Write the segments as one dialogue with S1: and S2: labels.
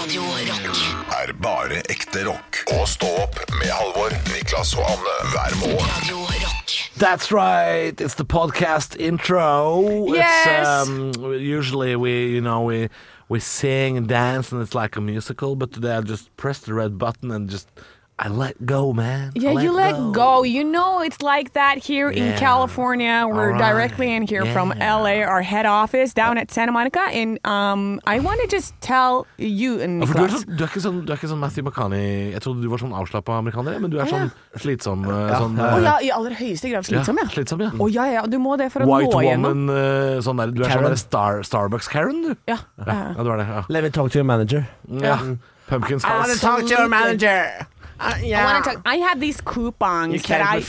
S1: Radio Rock.
S2: er bare ekte rock. Og stå opp med Halvor, Niklas og Anne hver morgen.
S1: Radio Rock.
S3: That's right. It's the podcast intro.
S4: Yes.
S3: It's, um, usually we, you know, we we sing and dance, and it's like a musical. But today I just pressed the red button and just I let go, man. I
S4: Yeah, you let go. You know it's like that here
S3: Yeah.
S4: in California. We're
S3: right.
S4: directly in here from
S3: Yeah.
S4: LA, our head office down at Santa Monica. And um, I want to just tell you and
S3: Ja, for du, er
S4: Nicholas.
S3: sånn, du, er ikke sånn, du er ikke sånn Matthew McCartney Jeg trodde du var sånn avslappa amerikaner, men du er sånn slitsom. eh, Sånn,
S4: Å
S3: eh,
S4: Oh, ja, i aller høyeste grad slitsom, ja.
S3: slitsom, ja.
S4: Å ja, ja. Du må det for å
S3: White
S4: nå igjennom.
S3: woman, eh, sånn der, du er sånn
S5: Karen.
S3: der Star, Starbucks-Karen, du.
S4: Ja.
S3: Ja, ja, du er det. Ja.
S5: Let me talk to your manager.
S3: ja. Pumpkin
S4: Ah,
S3: spice.
S5: to your manager.
S4: I want to talk. I have these coupons that I
S5: me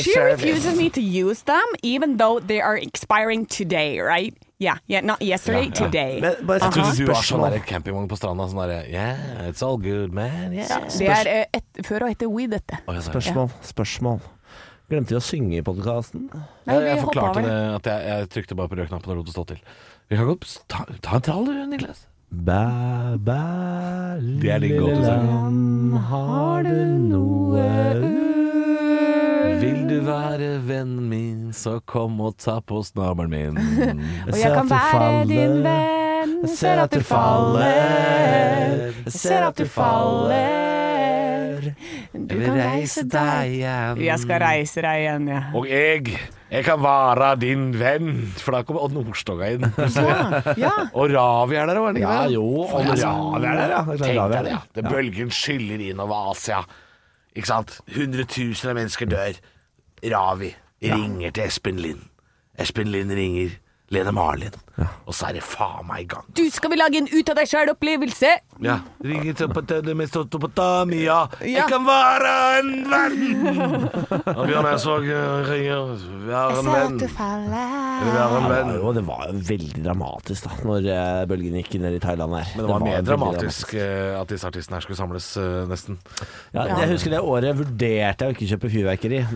S4: She refuses me to use them, even though they are expiring today, right? Yeah, yeah, not
S3: Yeah,
S4: yesterday,
S3: yeah.
S4: today. Uh-huh.
S5: Men, bare et
S3: Jeg trodde du var sånn
S5: spørsmål.
S3: der campingvogn på stranda. Sånn der, yeah, it's all good, man.
S4: Ja,
S3: Yeah.
S4: det er eh, et, før og etter weed, dette.
S3: Oi, sorry.
S5: Spørsmål. Spørsmål. Glemte vi å synge i podkasten?
S4: Nei,
S3: jeg,
S4: vi
S3: jeg
S4: hopper
S3: forklarte
S4: over
S3: det at jeg, jeg trykte bare på rød knappen og lot det stå til. Vi kan godt ta, ta en trall, du, Niklas.
S5: Bæ, bæ,
S3: Det er din gåte,
S5: lille
S3: sa jeg.
S5: lam, har du noe
S3: Vil du være vennen min, så kom og ta på snabelen min.
S4: Og jeg kan være din venn. Jeg ser at du faller.
S5: Jeg
S4: ser at du faller. Du kan reise deg.
S3: igjen.
S4: Jeg skal reise deg igjen, ja.
S3: Og jeg, jeg kan være din venn. For da kommer Odd Nordstoga inn.
S4: Ja, ja.
S3: Og Ravi er der òg, er det ikke
S5: Ja,
S3: det?
S5: jo,
S3: og
S5: altså,
S3: Ravi er der, ja.
S5: det er klart
S3: Tenk deg
S5: Ravi er
S3: det. ja.
S5: der.
S3: Det Bølgen skyller innover Asia. Ikke sant? Hundretusener av mennesker dør. Ravi ringer til Espen Lind. Espen Lind ringer Lene Marlin. Og så er det faen meg i gang.
S4: Du, skal vi lage en ut av deg sjøl-opplevelse?
S3: Ja. Ringer til Patelle med Sotopotamia.
S4: Ja.
S3: Jeg kan være en venn! Og Bjørn Eidsvåg eh, ringer. Vær en venn.
S4: faller.
S3: Vær en
S5: Ja, det
S3: venn.
S5: var jo- det var jo veldig dramatisk da Når eh, bølgen gikk ned i Thailand her
S3: Men det var mer
S5: veldig
S3: dramatisk eh, at disse artistene her skulle samles, eh, nesten.
S5: Ja, jeg husker det året vurderte jeg å ikke kjøpe fyrverkeri. eh,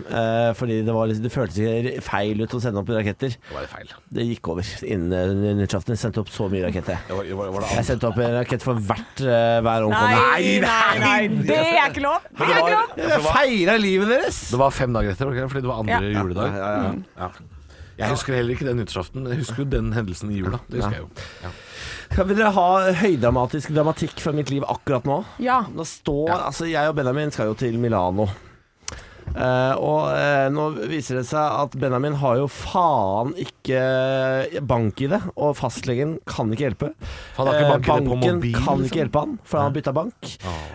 S5: fordi det, var, liksom- det føltes ikke feil ut å sende opp raketter.
S3: Det var feil.
S5: Det gikk over innen eh, nyttårsaften. Jeg sendte opp så mye raketter.
S3: Det var, var, var det
S5: Jeg sendte opp en rakett for hvert eh, hver omkomne.
S4: Nei, nei, nei. Det er ikke lov. Det er ikke lov.
S3: Altså,
S5: Jeg feira livet deres!
S3: Det var fem dager etter, var det ikke det? fordi det var andre
S4: Ja.
S3: juledag. Ja. Jeg husker heller ikke den nyttårsaften. Jeg husker jo den hendelsen i jula. Det husker jeg jo. Ja.
S5: Kan vil dere ha høydramatisk dramatikk fra mitt liv akkurat nå?
S4: Ja.
S5: Nå står, altså Jeg og Benjamin skal jo til Milano. Eh, og eh, nå viser det seg at Benjamin har jo faen ikke bank i det. Og fastlegen kan ikke hjelpe.
S3: For han har ikke
S5: Eh,
S3: bank i det på
S5: banken
S3: mobil,
S5: kan
S3: liksom.
S5: ikke hjelpe han, for han har bytta bank.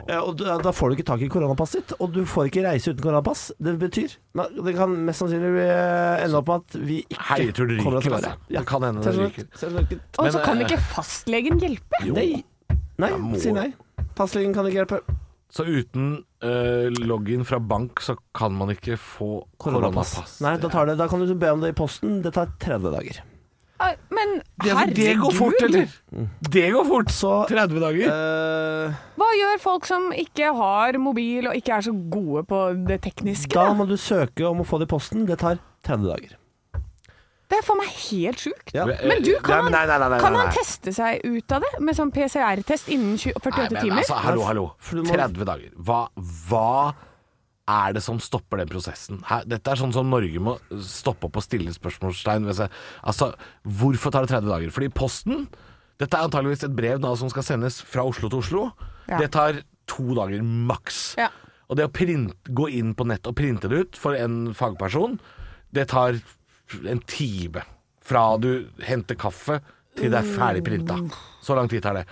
S5: Eh, og da, da får du ikke tak i koronapasset ditt, og du får ikke reise uten koronapass. Det betyr Nei, Det kan mest sannsynlig eh, ende opp med at vi ikke
S3: Hei, jeg tror det ryker,
S5: kommer oss til å
S3: altså.
S5: være.
S3: Det kan hende det ryker.
S5: ryker.
S4: Og
S3: Men,
S4: så kan
S3: eh,
S4: ikke fastlegen hjelpe.
S5: Nei, nei
S3: må-
S5: si nei. Fastlegen kan ikke hjelpe.
S3: Så uten eh, login fra bank, så kan man ikke få
S5: Koronapass.
S3: koronapass.
S5: Nei, da, tar det, da kan du be om det i posten. Det tar 30 dager.
S4: Eh, Men
S3: Ja, for det går fort,
S4: herregud,
S3: eller? Det går fort!
S5: Så
S3: 30 dager.
S5: eh,
S4: hva gjør folk som ikke har mobil og ikke er så gode på det tekniske?
S5: Da
S4: Da?
S5: må du søke om å få det i posten. Det tar 30 dager.
S4: Det er for meg helt sjukt.
S5: Ja.
S4: Men du, kan
S3: Eh, Nei,
S4: man,
S3: nei, nei, nei, nei,
S4: kan man
S3: nei.
S4: teste seg ut av det med sånn PCR-test innen 20 48
S3: Nei, men
S4: timer?
S3: Altså, hallo, hallo.
S5: For du må-
S3: 30 dager. Hva, hva er det som stopper den prosessen? Her, dette er sånn som Norge må stoppe opp og stille spørsmålstegn ved seg. Altså, hvorfor tar det 30 dager? Fordi Posten Dette er antageligvis et brev da, som skal sendes fra Oslo til Oslo.
S4: Ja.
S3: Det tar to dager maks.
S4: Ja.
S3: Og det å print, gå inn på nett og printe det ut for en fagperson, det tar en time fra du henter kaffe til det er ferdig printa. Så lang tid tar det.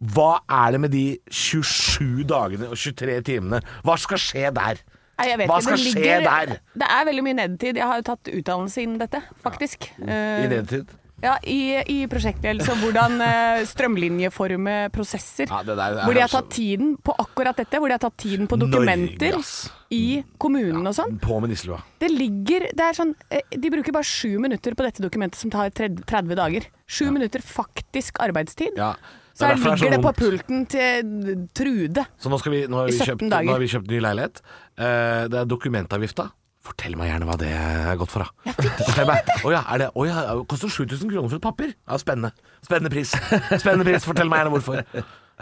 S3: Hva er det med de 27 dagene og 23 timene? Hva skal skje der?
S4: Nei, jeg vet
S3: Hva
S4: ikke.
S3: skal
S4: Det
S3: skje
S4: ligger-
S3: der?
S4: Det er veldig mye nedetid. Jeg har jo tatt utdannelse innen dette, faktisk. Eh,
S3: I nedetid?
S4: Ja, i, i prosjektledelse og hvordan eh, strømlinjeforme prosesser.
S3: Ja, det der er
S4: hvor de har
S3: altså-
S4: tatt tiden på akkurat dette, hvor de har tatt tiden på dokumenter
S3: Norge, ass. Mm.
S4: i kommunen og sånn.
S3: På med nisselua.
S4: Det ligger det er sånn, eh, De bruker bare sju minutter på dette dokumentet som tar 30, 30 dager. Sju minutter faktisk arbeidstid.
S3: Ja.
S4: Så her
S3: derfor
S4: ligger det på
S3: vondt.
S4: pulten til Trude.
S3: Så nå, skal vi, nå, har
S4: I
S3: vi
S4: 17
S3: kjøpt,
S4: dager.
S3: nå har vi kjøpt ny leilighet. Eh, det er dokumentavgifta. Fortell meg gjerne hva det er godt for, da. Fortell meg. Å ja, er det, å ja, det koster 7000 kroner for et papir? Ja, spennende. Spennende pris. Spennende pris, Fortell meg gjerne hvorfor.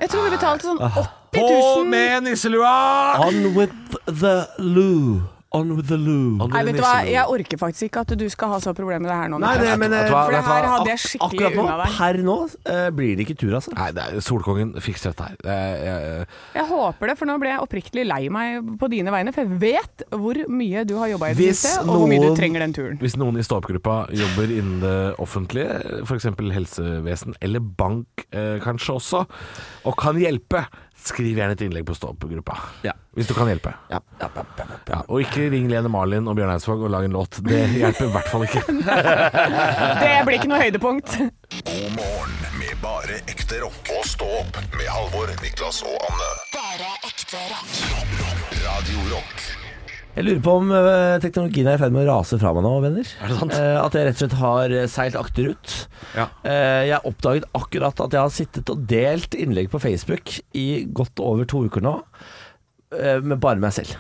S6: Jeg tror vi betalte sånn 80
S3: På
S6: 000.
S3: med nisselua!
S5: On with the loo. On with the loo.
S6: Nei, vet du hva, jeg orker faktisk ikke at du skal ha så problemer med det her nå.
S5: Nei, det,
S6: Niklas.
S5: men eh,
S3: Vet du hva?
S6: For det her hadde jeg
S5: ak-
S6: skikkelig
S5: akkurat nå,
S6: unna deg.
S5: per nå, eh, blir det ikke tur, altså.
S3: Nei, det er, Solkongen fikser dette her. Det er, jeg-
S6: Jeg håper det, for nå ble jeg oppriktig lei meg på dine vegne. For jeg vet hvor mye du har jobba i det
S3: Hvis
S6: siste, og hvor mye
S3: noen-
S6: du trenger den turen.
S3: Hvis noen i stå-opp-gruppa jobber innen det offentlige, f.eks. helsevesen eller bank eh, kanskje også, og kan hjelpe, skriv gjerne et innlegg på stå-opp-gruppa.
S5: Ja.
S3: Hvis du kan hjelpe.
S5: Ja. Ja, ja, ja, ja.
S3: Ja, og ikke ring Lene Marlin og Bjørn Eidsvåg og lag en låt. Det hjelper i hvert fall ikke.
S6: Det blir ikke noe høydepunkt.
S2: God morgen med bare ekte rock. Og stå opp med Halvor, Niklas og Anne.
S1: Bare ekte rock.
S2: Radio Rock.
S5: Jeg lurer på om eh, teknologien er i ferd med å rase fra meg nå, venner.
S3: Er det sant?
S5: Eh, at jeg rett og slett har eh, seilt akterut.
S3: Ja.
S5: Eh, jeg oppdaget akkurat at jeg har sittet og delt innlegg på Facebook i godt over to uker nå, eh, med bare meg selv.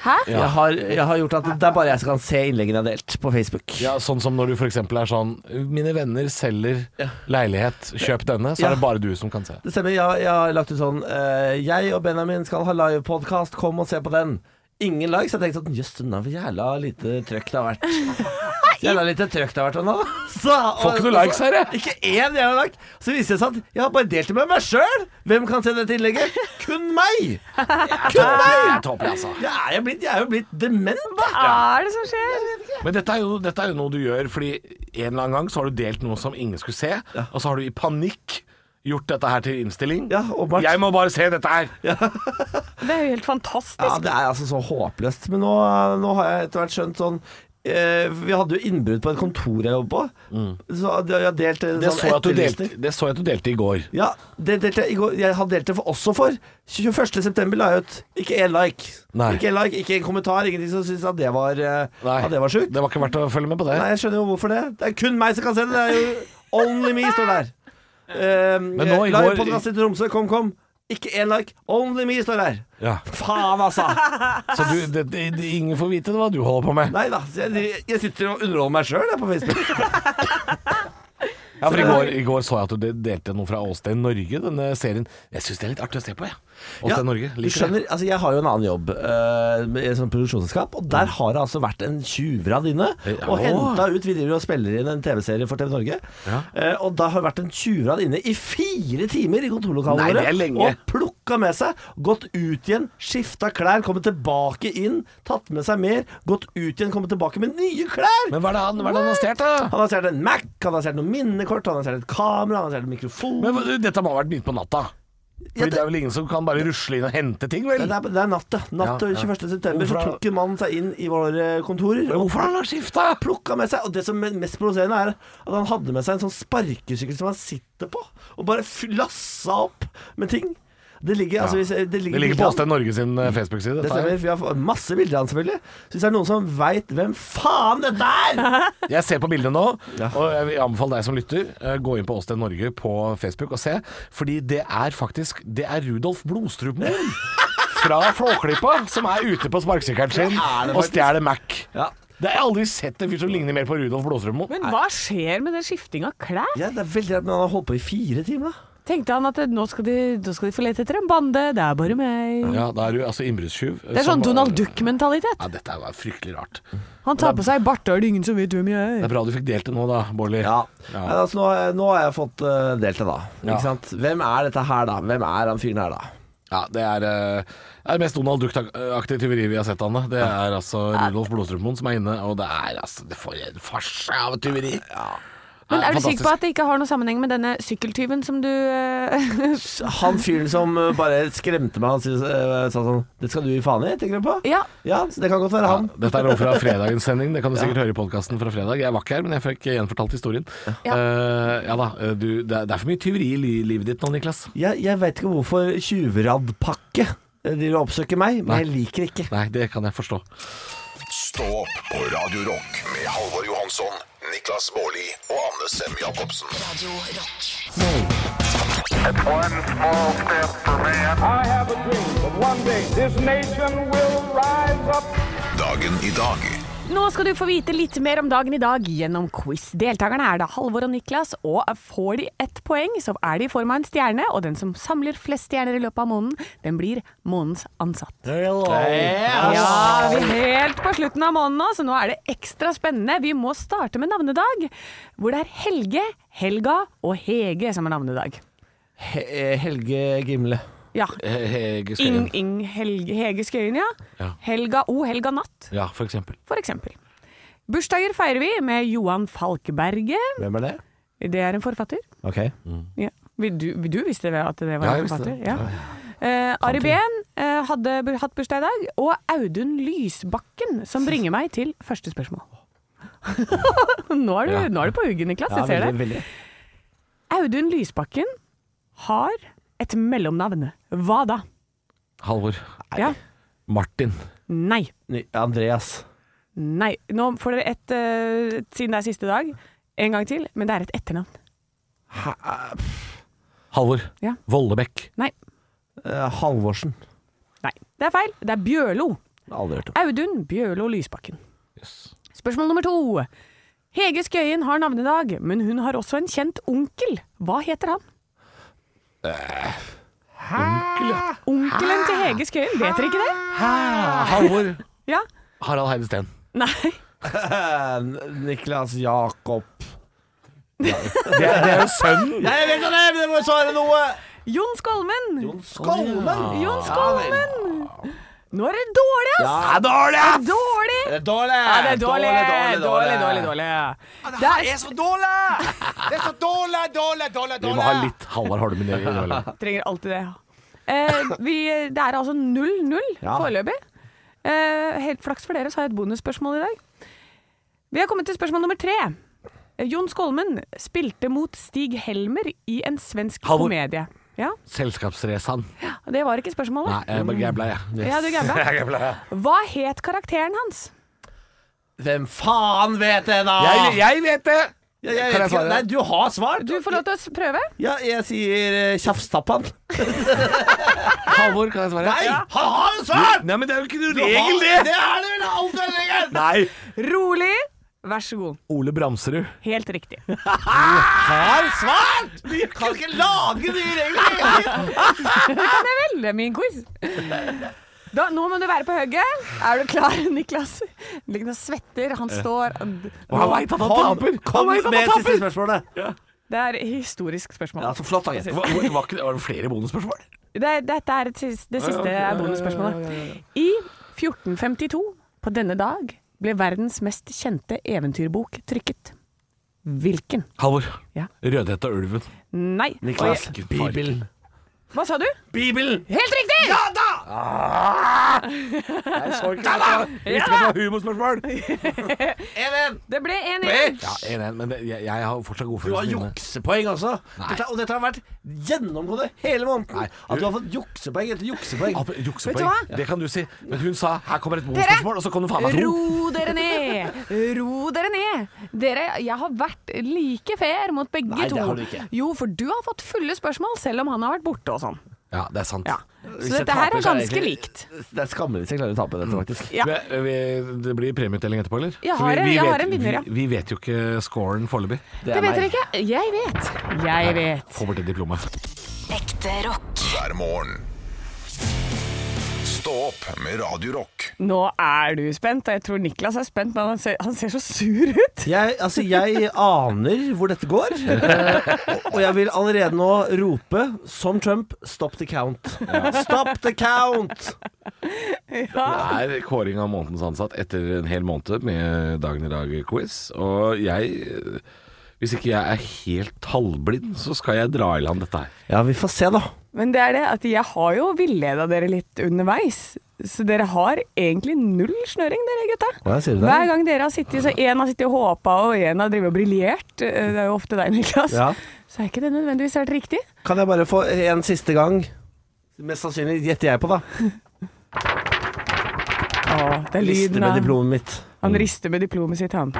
S6: Hæ?
S5: Jeg, har, jeg har gjort at det er bare jeg som kan se innleggene jeg har delt på Facebook.
S3: Ja, sånn som når du f.eks. er sånn Mine venner selger leilighet, kjøp denne. Så
S5: Ja.
S3: er det bare du som kan se.
S5: Det stemmer. Jeg, jeg har lagt ut sånn eh, Jeg og Benjamin skal ha livepodkast, kom og se på den. Ingen likes. Jeg tenkte sånn Jøss, den er hvor jævla lite trøkk det har vært. Jævla lite trøkk det har vært nå. Så, og,
S3: Får ikke noe likes her, jeg.
S5: jeg. Ikke én jævla like. Så viser det seg at jeg har bare delt det med meg sjøl. Hvem kan se dette innlegget? Kun meg! Kun meg!
S3: Tåpelig, altså.
S5: Jeg er jo blitt, jeg er jo blitt dement, da.
S6: Hva er det som skjer?
S3: Men dette er, jo, dette er jo noe du gjør fordi en eller annen gang så har du delt noe som ingen skulle se, og så har du i panikk gjort dette her til innstilling.
S5: Ja, åpenbart.
S3: jeg må bare se dette her!
S6: Det er jo helt fantastisk.
S5: Ja, det er altså så håpløst. Men nå, nå har jeg etter hvert skjønt sånn eh, Vi hadde jo innbrudd på et kontor jeg jobber på. Så hadde jeg har delt en
S3: Mm. Det
S5: sånn
S3: så, jeg at du delte,
S5: etterlysning.
S3: det så jeg at du delte i går.
S5: Ja, det delte jeg i går. Jeg hadde delt det for, også for 21. september la jeg ut. Ikke én like.
S3: Nei.
S5: Ikke en like, ikke en kommentar, ingenting som syntes at det var, eh,
S3: Nei,
S5: at det var sjukt.
S3: Det var ikke verdt å følge med på det.
S5: Nei, jeg skjønner jo hvorfor det. Det er kun meg som kan se det. Det er jo only me står der. Um,
S3: Men nå i går-
S5: Livepodkast til Tromsø, kom, kom. Ikke én like. Only me står der.
S3: Ja.
S5: Faen, altså.
S3: Så du, det, det, ingen får vite hva du holder på med.
S5: Nei da, så jeg, jeg sitter og underholder meg sjøl på Facebook.
S3: Ja, for i går, I går så jeg at du delte noe fra Åsted Norge, denne serien. Jeg syns det er litt artig å se på, jeg. Åsted Norge.
S5: du
S3: Liker det.
S5: skjønner, altså Jeg har jo en annen jobb eh, med- i et sånt produksjonsselskap, og der har det altså vært en tjuvradd inne
S3: Mm. Ja.
S5: og henta ut Vi driver og spiller inn en TV-serie for TV Norge,
S3: Ja.
S5: Eh, og da har det vært en tjuvradd inne i fire timer i
S3: Nei,
S5: kontorlokalene
S3: det er lenge.
S5: og plukka med seg, gått ut igjen, skifta klær, kommet tilbake inn, tatt med seg mer, gått ut igjen, kommet tilbake med nye klær!
S3: Men hva er det han, hva er det han har stjålet, da?
S5: Han har stjålet en Mac, han har stjålet noen minnekort, han har stjålet et kamera, han har stjålet en mikrofon
S3: Men hva- dette må ha vært midt på natta.
S5: Ja,
S3: Fordi det er vel ingen som kan bare rusle inn og hente ting, vel?
S5: Det er, det er natt, ja. Natt
S3: Ja,
S5: til
S3: ja.
S5: 21. september så
S3: Hvorfor da?
S5: tok en mann seg inn i våre kontorer og
S3: Hvorfor har han skifta?
S5: plukka med seg Og det som er mest provoserende, er at han hadde med seg en sånn sparkesykkel som han sitter på, og bare f- lassa opp med ting. Det ligger, altså, hvis, det ligger,
S3: Det ligger på
S5: bilder av
S3: Åsted Norge sin eh, Facebook-side.
S5: han. Det
S3: dette her.
S5: stemmer. Vi har fått masse bilder av han, selvfølgelig. Så hvis det er noen som veit hvem faen dette er
S3: Jeg ser på bildet nå,
S5: Ja.
S3: og jeg vil anbefale deg som lytter, eh, gå inn på Åsted Norge på Facebook og se. Fordi det er faktisk Det er Rudolf Blodstrupmoen fra Flåklypa som er ute på sparkesykkelen sin
S5: det
S3: og stjeler Mac.
S5: Ja.
S3: Det har jeg aldri sett en fyr som ligner mer på Rudolf Blodstrupmoen.
S6: Men hva skjer med den skiftinga av klær?
S5: ja, det er veldig rart, men han har holdt på i fire timer, da.
S6: Tenkte han at eh, nå skal de, nå skal de få lete etter en bande, det er bare meg.
S3: Ja, da er du altså innbruddstyv.
S6: Det er sånn Donald Duck-mentalitet.
S3: Ja, dette er jo fryktelig rart.
S6: Han tar på seg bart, da er det ingen som vet hvem jeg
S3: Det
S6: er.
S3: er bra du fikk delt det nå da, Bårdli.
S5: Ja.
S3: Ja.
S5: Nei, Altså, nå, har jeg- nå har jeg fått eh, delt det, da.
S3: Ja.
S5: Ikke sant? Hvem er dette her, da? Hvem er han fyren her, da?
S3: Ja, det er, eh, det er det mest Donald Duck-aktige tyveriet vi har sett, Anne. Det er altså Rudolf Blodstrupmoen som er inne, og det er altså Det får en farse av et tyveri.
S6: Men er du sikker på
S3: fantastisk.
S6: at det ikke har noe sammenheng med denne sykkeltyven som du eh,
S5: Han fyren som eh, bare skremte meg, han sy- eh, sa sånn Det skal du gi faen i, tenker du på?
S6: Ja.
S5: Ja, så det kan godt være
S3: ja,
S5: han.
S3: Dette er noe fra fredagens sending. Det kan du sikkert høre i podkasten fra fredag. Jeg var ikke her, men jeg fikk gjenfortalt historien.
S6: Ja.
S3: Eh, ja da. eh, Du, det, er, det er for mye tyveri i li- livet ditt nå, Niklas.
S5: Jeg, jeg veit ikke hvorfor tjuvraddpakke eh, driver og oppsøker meg, men
S3: Nei.
S5: jeg liker det ikke.
S3: Nei, det kan jeg forstå.
S2: Stå opp på Radio Rock med Halvor Johansson, Niklas Baarli og Anne Sem Jacobsen.
S1: Radio rock.
S7: It's one small step for man.
S4: I have a dream that one day this nation will rise up.
S2: Dagen i dag
S4: Nå skal du få vite litt mer om dagen i dag gjennom quiz. Deltakerne er da Halvor og Niklas, og får de ett poeng, så er de i form av en stjerne, og den som samler flest stjerner i løpet av måneden, den blir månedens ansatt. Ja, vi er helt på slutten av måneden nå, så nå er det ekstra spennende. Vi må starte med navnedag, hvor det er Helge, Helga og Hege som er navnedag.
S5: He eh, Helge Gimle.
S4: Ja.
S3: Hege Skøyen.
S4: Ing, Ing, Helge, Hege Skøyen, ja.
S3: Ja.
S4: Helga O, Helga Natt,
S3: Ja, for eksempel.
S4: for eksempel. Bursdager feirer vi med Johan Falkberget.
S5: Hvem er det?
S4: Det er en forfatter.
S5: Ok.
S4: Ja. Vil Du, vil du visste vel at det var
S3: Ja, jeg
S4: en
S3: visste
S4: forfatter?
S3: det.
S4: Ja. Eh, Ari Behn eh, hadde bu- hatt bursdag i dag, og Audun Lysbakken, som bringer meg til første spørsmål. nå, er du,
S3: Ja.
S4: nå er du på hugget, Niklas.
S5: Ja,
S4: jeg ser
S5: veldig,
S4: det.
S5: veldig.
S4: Audun Lysbakken har et mellomnavn. Hva da?
S3: Halvor.
S4: Ja.
S3: Martin.
S4: Nei.
S5: Ny- Andreas.
S4: Nei. Nå får dere et, eh, siden det er siste dag, en gang til, men det er et etternavn.
S3: Halvor.
S4: Ja.
S3: Vollebekk.
S4: Nei.
S5: Eh, Halvorsen.
S4: Nei. Det er feil. Det er Bjørlo.
S5: Aldri hørt om.
S4: Audun Bjørlo Lysbakken.
S3: Yes.
S4: Spørsmål nummer to. Hege Skøyen har navnedag, men hun har også en kjent onkel. Hva heter han? Onkelen til Hege Skøyen, vet dere ikke det?
S6: Ah.
S3: Halvor.
S4: Ja?
S3: Harald Heide Steen.
S4: Nei.
S5: Eh, Niklas Jakob.
S3: Det, er- det er jo sønnen.
S5: Nei, jeg vet ikke det, men jeg må svare noe!
S4: Jon Skolmen. Jon,
S3: Sånn,
S5: Skolmen!
S4: Skolmen. Nå er det dårlig, ass!
S5: Ja, det er dårlig!
S4: Det er Dårlig!
S5: Det er Eh,
S4: Ja,
S5: dårlig!
S4: det er dårlig, dårlig, dårlig. dårlig, Det er,
S5: så dårlig! Det er så dårlig, dårlig, dårlig,
S3: Vi må ha litt Halvard Holmen i- innimellom.
S4: trenger alltid det. Eh, vi, det er altså 0-0
S5: Ja.
S4: foreløpig. Eh, helt flaks for dere, så har jeg et bonusspørsmål i dag. Vi har kommet til spørsmål nummer tre. Eh, Jon Skolmen spilte mot Stig Helmer i en svensk
S3: Halvor.
S4: komedie. Ja,
S3: Selskapsresan.
S4: Det var ikke spørsmålet.
S3: Nei, jeg bare gambla, jeg.
S4: Ja, du gambla. Hva het karakteren hans?
S5: Hvem faen vet det, da?
S3: Jeg, jeg vet det!
S5: Ja, jeg
S3: Kan
S5: vet
S3: jeg
S5: ikke.
S3: svare?
S5: Nei, du har svar.
S4: Du får lov til å s- prøve.
S5: Ja, jeg sier eh, Tjafstappan.
S3: Halvor, kan jeg svare?
S5: Nei, han har jo svar!
S3: Nei, men det er jo ikke noe
S5: Du har-
S3: regel, det!
S5: Det er det vel alltid en regel!
S3: Nei.
S4: Rolig. Vær så god.
S3: Ole Bramserud.
S4: Helt riktig.
S5: Har svart! Du kan ikke lage nye regler!
S4: Det er vel min quiz. Da, nå må du være på hugget. Er du klar, Niklas? Niklas svetter, han står
S3: Og han veit at han taper! Han
S5: Kom
S3: vet at
S5: med
S3: han
S5: siste
S3: taper!
S5: spørsmålet.
S4: Det er et historisk spørsmål.
S5: Ja, altså. så flott, da,
S3: Hva-
S5: jenter.
S3: hva- var ikke det- Var det flere bonusspørsmål?
S4: det, dette er et sis- det siste er bonusspørsmålet. I 1452, på denne dag, ble verdens mest kjente eventyrbok trykket. Hvilken?
S3: Halvor.
S4: Ja.
S3: Rødhette og ulven.
S4: Nei.
S5: Niklas,
S3: Oi.
S5: Bibelen.
S4: Oi, Hva sa du?
S5: Bibelen!
S4: Helt riktig! Ja da!
S3: Visste ikke at det var humorspørsmål!
S5: Even,
S4: Det ble 1-1.
S5: bitch!
S3: Ja, en, en, men det- jeg, jeg har fortsatt
S5: Du har
S3: godfølelse. i mine.
S5: juksepoeng også. Dette, og dette har vært gjennomgående hele måneden.
S3: Nei,
S5: At
S3: du-
S5: du har fått juksepoeng etter juksepoeng.
S3: Ap- Juksepoeng.
S4: Vet du hva?
S3: Det kan du si. Men hun sa 'her kommer et bonusspørsmål', og så kom det faen meg to.
S4: Ro dere ned! Ro dere ned! Dere, jeg har vært like fair mot begge
S5: Nei, det
S4: to.
S5: har du ikke.
S4: Jo, for du har fått fulle spørsmål selv om han har vært borte og sånn.
S3: Ja, det er sant.
S4: Ja.
S5: Hvis
S4: Så
S5: jeg
S4: dette her
S5: taper,
S4: er
S5: så
S4: ganske
S5: egentlig-
S4: likt.
S5: Det er skammelig hvis jeg klarer å tape dette, faktisk.
S4: Ja.
S3: Vi, vi, det blir premieutdeling etterpå, eller? Så
S4: Jeg har en- jeg
S3: vet,
S4: har en vinner, ja.
S3: Vi, vi vet jo ikke scoren foreløpig.
S4: Det vet dere ikke. Jeg vet. Jeg vet.
S3: Kommer til diplomet.
S1: Ekte rock.
S2: hver morgen. Stå opp med Radio Rock.
S4: Nå er du spent, og jeg tror Niklas er spent, men han ser, han ser så sur ut.
S5: Jeg, altså, jeg aner hvor dette går, eh, og- og jeg vil allerede nå rope, som Trump, stop the count. Stop the count!
S3: Det er kåring av månedens ansatt etter en hel måned med Dagen i dag-quiz. Og jeg Hvis ikke jeg er helt halvblind, så skal jeg dra i land dette her.
S5: Ja, vi får se, da.
S4: Men det er det at jeg har jo villeda dere litt underveis. Så dere har egentlig null snøring, dere gutta.
S5: Hva sier du
S4: Hver gang dere har sittet, så en har sittet og håpa, og en har drevet og briljert, eh, det er jo ofte deg, Niklas,
S5: Ja.
S4: så er ikke det nødvendigvis helt riktig.
S5: Kan jeg bare få en siste gang? Mest sannsynlig gjetter jeg på, da.
S4: Å, det er
S5: Liste
S4: lyden
S5: med
S4: av
S5: diplomet mitt.
S4: Han rister med diplomet sitt, han.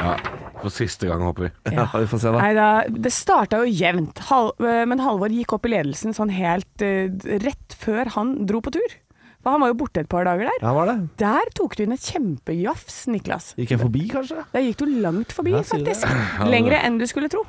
S3: Ja, For siste gang, håper vi.
S5: Ja, vi får se, da.
S4: Nei da, det starta jo jevnt, Hal eh, men Halvor gikk opp i ledelsen sånn helt eh, rett før han dro på tur. For For han var jo borte et par dager der.
S5: Ja, var det.
S4: Der tok du inn et kjempejafs, Niklas.
S5: Gikk jeg forbi, kanskje?
S4: Der gikk du langt forbi,
S5: Ja, sier du det? Mhm.
S4: faktisk. Lengre enn du skulle tro.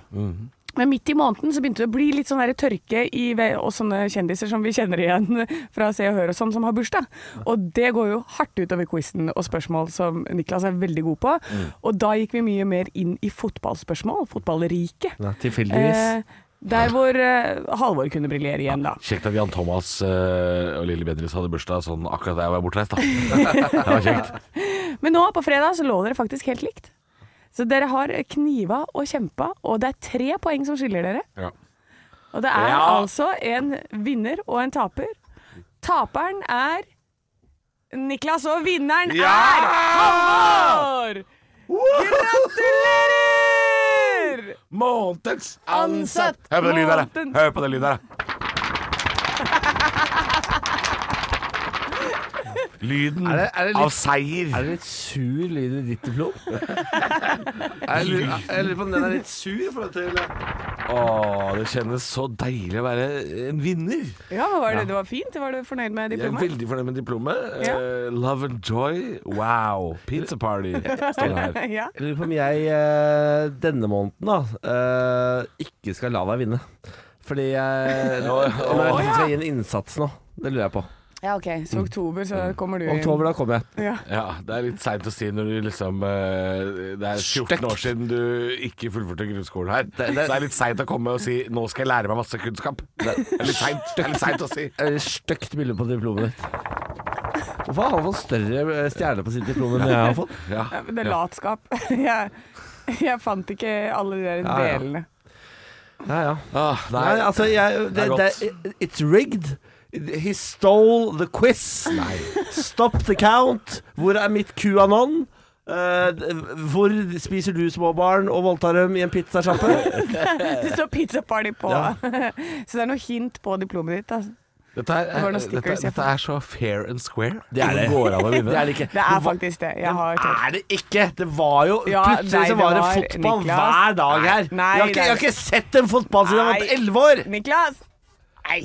S4: Men midt i måneden så begynte det å bli litt sånn der tørke i, ve- og sånne kjendiser som vi kjenner igjen fra Se og Hør og sånn, som har bursdag. Og det går jo hardt utover quizen og spørsmål som Niklas er veldig god på.
S5: Mm.
S4: Og da gikk vi mye mer inn i fotballspørsmål, fotballriket.
S5: Nei, tilfeldigvis.
S4: Eh, der hvor eh, Halvor kunne briljere igjen, da.
S3: Kjekt at Jan Thomas eh, og Lille Bendriss hadde bursdag sånn akkurat da jeg var bortreist, da. Det var kjekt.
S4: Men nå på fredag så lå dere faktisk helt likt. Så dere har kniva og kjempa, og det er tre poeng som skiller dere.
S3: Ja.
S4: Og det er
S3: Ja.
S4: altså en vinner og en taper. Taperen er Niklas, og vinneren er Halvor! Gratulerer!
S3: Månedens
S4: ansatt!
S3: Hør på det lydet der, da.
S4: Månedens-
S3: Hør på det lydet der. da. Lyden
S5: Er det- er det litt-
S3: av seier.
S5: Er det litt sur lyd i ditt diplom? jeg lurer jeg lurer på om den er litt sur i forhold til
S3: Åh, det kjennes så deilig å være en vinner.
S4: Ja, var det, det var fint. Var du fornøyd med
S3: Jeg er
S4: diplomet?
S3: veldig fornøyd med diplomet.
S4: Ja.
S3: Eh, love and joy. Wow. Pizza party står det her.
S4: Ja.
S5: Jeg lurer på om jeg eh, denne måneden da eh, ikke skal la deg vinne. Fordi jeg Nå nå er jeg liksom skal gi en innsats nå. Det lurer jeg på.
S4: ja, OK.
S3: Mm.
S4: Så oktober, så kommer du inn.
S5: Oktober, da kommer jeg.
S4: Ja.
S3: Ja, det er litt seint å si når du liksom eh, Det er 14 år siden du ikke fullførte grunnskolen her. Så det er litt seint å komme og si 'nå skal jeg lære meg masse kunnskap'. Det er litt seint. Det er litt seint å si.
S5: Det er et Stygt bilde på diplomet ditt. Hvorfor har han fått større eh, stjerne på sitt diplom enn jeg har fått?
S3: Ja.
S4: Ja, men det er latskap. Jeg, jeg fant ikke alle de der
S5: Ja, ja.
S4: delene.
S5: Ja, ja.
S3: Ah, nei.
S5: Nei, altså jeg,
S3: det
S5: det,
S3: er
S5: det, It's rigged. He stole the quiz. Stop the count. Hvor er mitt QAnon? Eh, d- hvor spiser du små barn og voldtar dem i en pizzasjappe?
S4: Det står pizza party på.
S5: Ja.
S4: Så det er noe hint på diplomet ditt. Altså.
S3: Dette, er,
S4: Det var noen
S3: dette,
S4: stickers jeg
S3: dette er så fair and square.
S5: Det er det.
S3: går an å vinne.
S5: Det er det ikke.
S4: Det er faktisk det. Jeg har tørt.
S5: Er det ikke? Det var jo
S4: Ja,
S5: Plutselig
S4: nei,
S5: så
S4: det
S5: var det
S4: var-
S5: fotball
S4: Niklas.
S5: hver dag her.
S4: Nei,
S5: jeg, har ikke, jeg har
S4: nei.
S5: ikke sett en fotball siden jeg
S4: Nei.
S5: var elleve år!
S4: Niklas! Nei,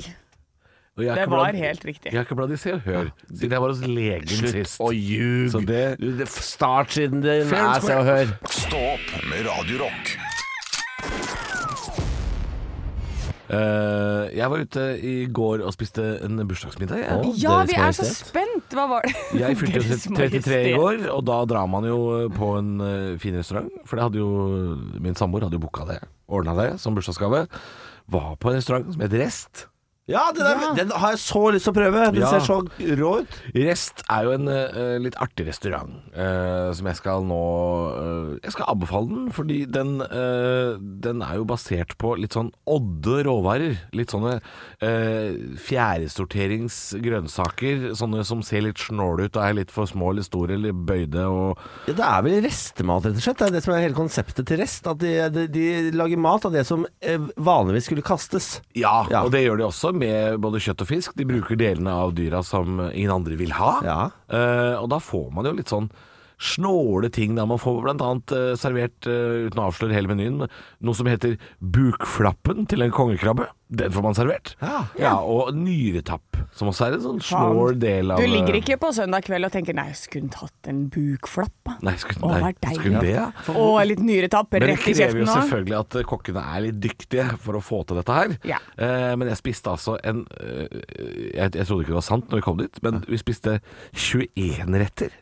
S3: Og jeg har
S4: det
S3: ikke
S4: var
S3: bladd-
S4: helt riktig.
S3: Jeg har ikke bladd i Se og Hør siden jeg var hos legen sist.
S5: å ljuge.
S3: Så det-
S5: Du, det- Start siden din
S3: Fair and
S5: er Se og Hør.
S2: Stå opp med Radio Rock.
S3: Eh, jeg var ute i går og spiste en bursdagsmiddag. Jeg,
S4: Ja,
S5: Deres
S4: vi er så
S5: Majestet.
S4: spent! Hva var det?
S3: jeg fylte jo
S4: Deres
S3: 33 i
S4: Majestet.
S3: går, og da drar man jo på en eh, fin restaurant. For det hadde jo min samboer hadde jo booka det, ordna det som bursdagsgave. Var på en restaurant som het Rest.
S5: Ja, den, er, den har jeg så lyst til å prøve. Den
S3: Ja.
S5: ser så rå ut.
S3: Rest er jo en eh, litt artig restaurant eh, som jeg skal nå eh, Jeg skal anbefale den, fordi den, eh, den er jo basert på litt sånn odde råvarer. Litt sånne uh, fjæresorteringsgrønnsaker. Sånne som ser litt snåle ut og er litt for små eller store eller bøyde og
S5: Ja, Det er vel restemat, rett og slett. Det er det som er hele konseptet til rest. At de, de, de lager mat av det som eh, vanligvis skulle kastes.
S3: ja,
S5: Ja.
S3: og det gjør de også med både kjøtt og fisk. De bruker delene av dyra som ingen andre vil ha.
S5: Ja.
S3: Eh, og da får man jo litt sånn snåle ting. Da. Man får bl.a. Uh, servert, eh, uten å avsløre hele menyen, noe som heter bukflappen til en kongekrabbe. Den får man servert.
S5: Ja.
S3: Og nyretapp, som også er en sånn snål del av eh,
S4: Du ligger ikke på søndag kveld og tenker 'nei, jeg skulle tatt en bukflapp', da.
S3: Nei, skulle,
S4: Å,
S3: nei,
S4: det var deilig. altså.
S3: skulle det, ja.
S4: Og litt nyretapp
S3: Men det
S4: rett i
S3: krever jo
S4: kjeften nå.
S3: selvfølgelig at eh, kokkene er litt dyktige for å få til dette her.
S4: Ja.
S3: Eh, men jeg spiste altså en eh, jeg, jeg trodde ikke det var sant når vi kom dit, men vi spiste 21 retter.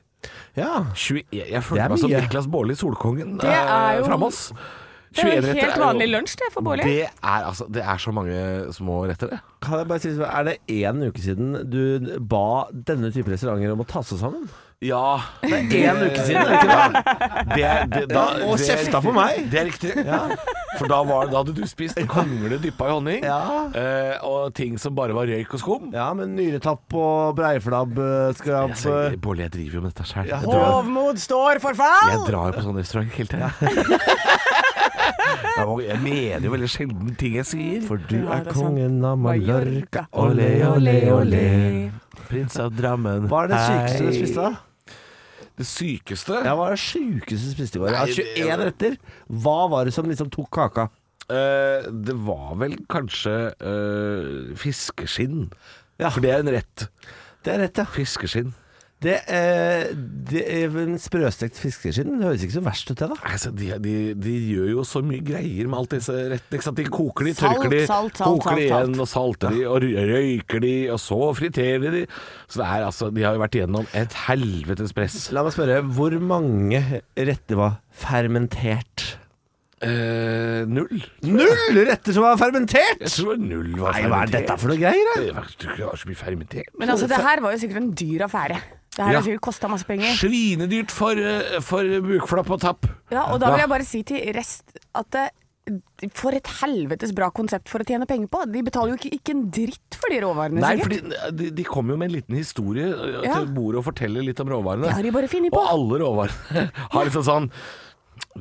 S5: Ja.
S3: 21, jeg
S5: Det
S3: følte
S5: er
S3: meg som
S5: mye.
S3: Niklas Baarli, Solkongen,
S4: Det er
S3: eh,
S4: jo-
S3: framme oss.
S4: Det er
S3: 21
S4: jo
S3: retter
S4: helt
S3: jo-
S4: vanlig lunsj det for Bårli.
S3: Det er, altså, det er så mange små retter, det.
S5: Kan jeg bare si, er det én uke siden du ba denne type restauranter om å ta seg sammen?
S3: Ja. Det er
S5: én uke siden, er det ikke
S3: det er- det- da-
S5: Ja, og
S3: det er
S5: kjefta på
S3: riktig.
S5: meg.
S3: Det er riktig. For da, var, da hadde du spist kongle dyppa i honning,
S5: Ja.
S3: eh, og ting som bare var røyk og skum.
S5: Ja, men nyretapp og breiflabb eh, skal
S3: Jeg
S5: jeg
S3: sier,
S5: på-
S3: Bolle, jeg driver jo med dette sjøl.
S5: Ja.
S3: Jeg drar-
S4: Hovmod står for fall!
S3: jeg drar jo på sånn restaurant hele tida. Jeg må- Jeg mener jo veldig sjelden ting jeg sier.
S5: For du
S4: Ja,
S5: er
S4: det er sant.
S5: kongen av Mallorca.
S4: Mallorca.
S5: Ole, ole, ole.
S3: Prins av Drammen.
S5: Hva er det sykeste du
S3: Hei.
S5: spiste, da?
S3: Det sykeste?
S5: Ja, hva er det sjukeste du spiste i går?
S3: Nei,
S5: Ja,
S3: det-
S5: 21 retter. Hva var det som liksom tok kaka?
S3: Eh, det var vel kanskje eh, fiskeskinn.
S5: Ja.
S3: For det er en rett.
S5: Det er rett, ja.
S3: Fiskeskinn.
S5: Det, eh, det er en sprøstekt fiskeskinn det høres ikke så verst ut, det da.
S3: Altså, de, de, de gjør jo så mye greier med alt disse rettene. ikke sant? De koker de,
S8: Salt,
S3: tørker de,
S8: salt, salt,
S3: koker de
S8: salt, salt.
S3: igjen, og salter de, og rø- røyker de, og så friterer de. Så det er altså, De har jo vært igjennom et helvetes press.
S5: La meg spørre, hvor mange retter var fermentert?
S3: Eh, null.
S5: Null retter som var fermentert!
S3: Jeg tror null var
S5: Nei, hva er dette for noe greier? da?
S3: Det var, du har så mye fermentert.
S6: Men altså, det her var jo sikkert en dyr affære. Det her
S3: Ja.
S6: har sikkert kosta masse penger.
S3: Svinedyrt for, eh, for bukflapp og tapp.
S6: Ja, og da vil jeg bare si til rest at det, for et helvetes bra konsept for å tjene penger på. De betaler jo ikke, ikke en dritt for de råvarene,
S3: Nei,
S6: sikkert.
S3: fordi eh, de, de kommer jo med en liten historie eh,
S6: Ja.
S3: til bordet og forteller litt om råvarene.
S6: Det har de bare funnet på.
S3: Og alle råvarene har liksom sånn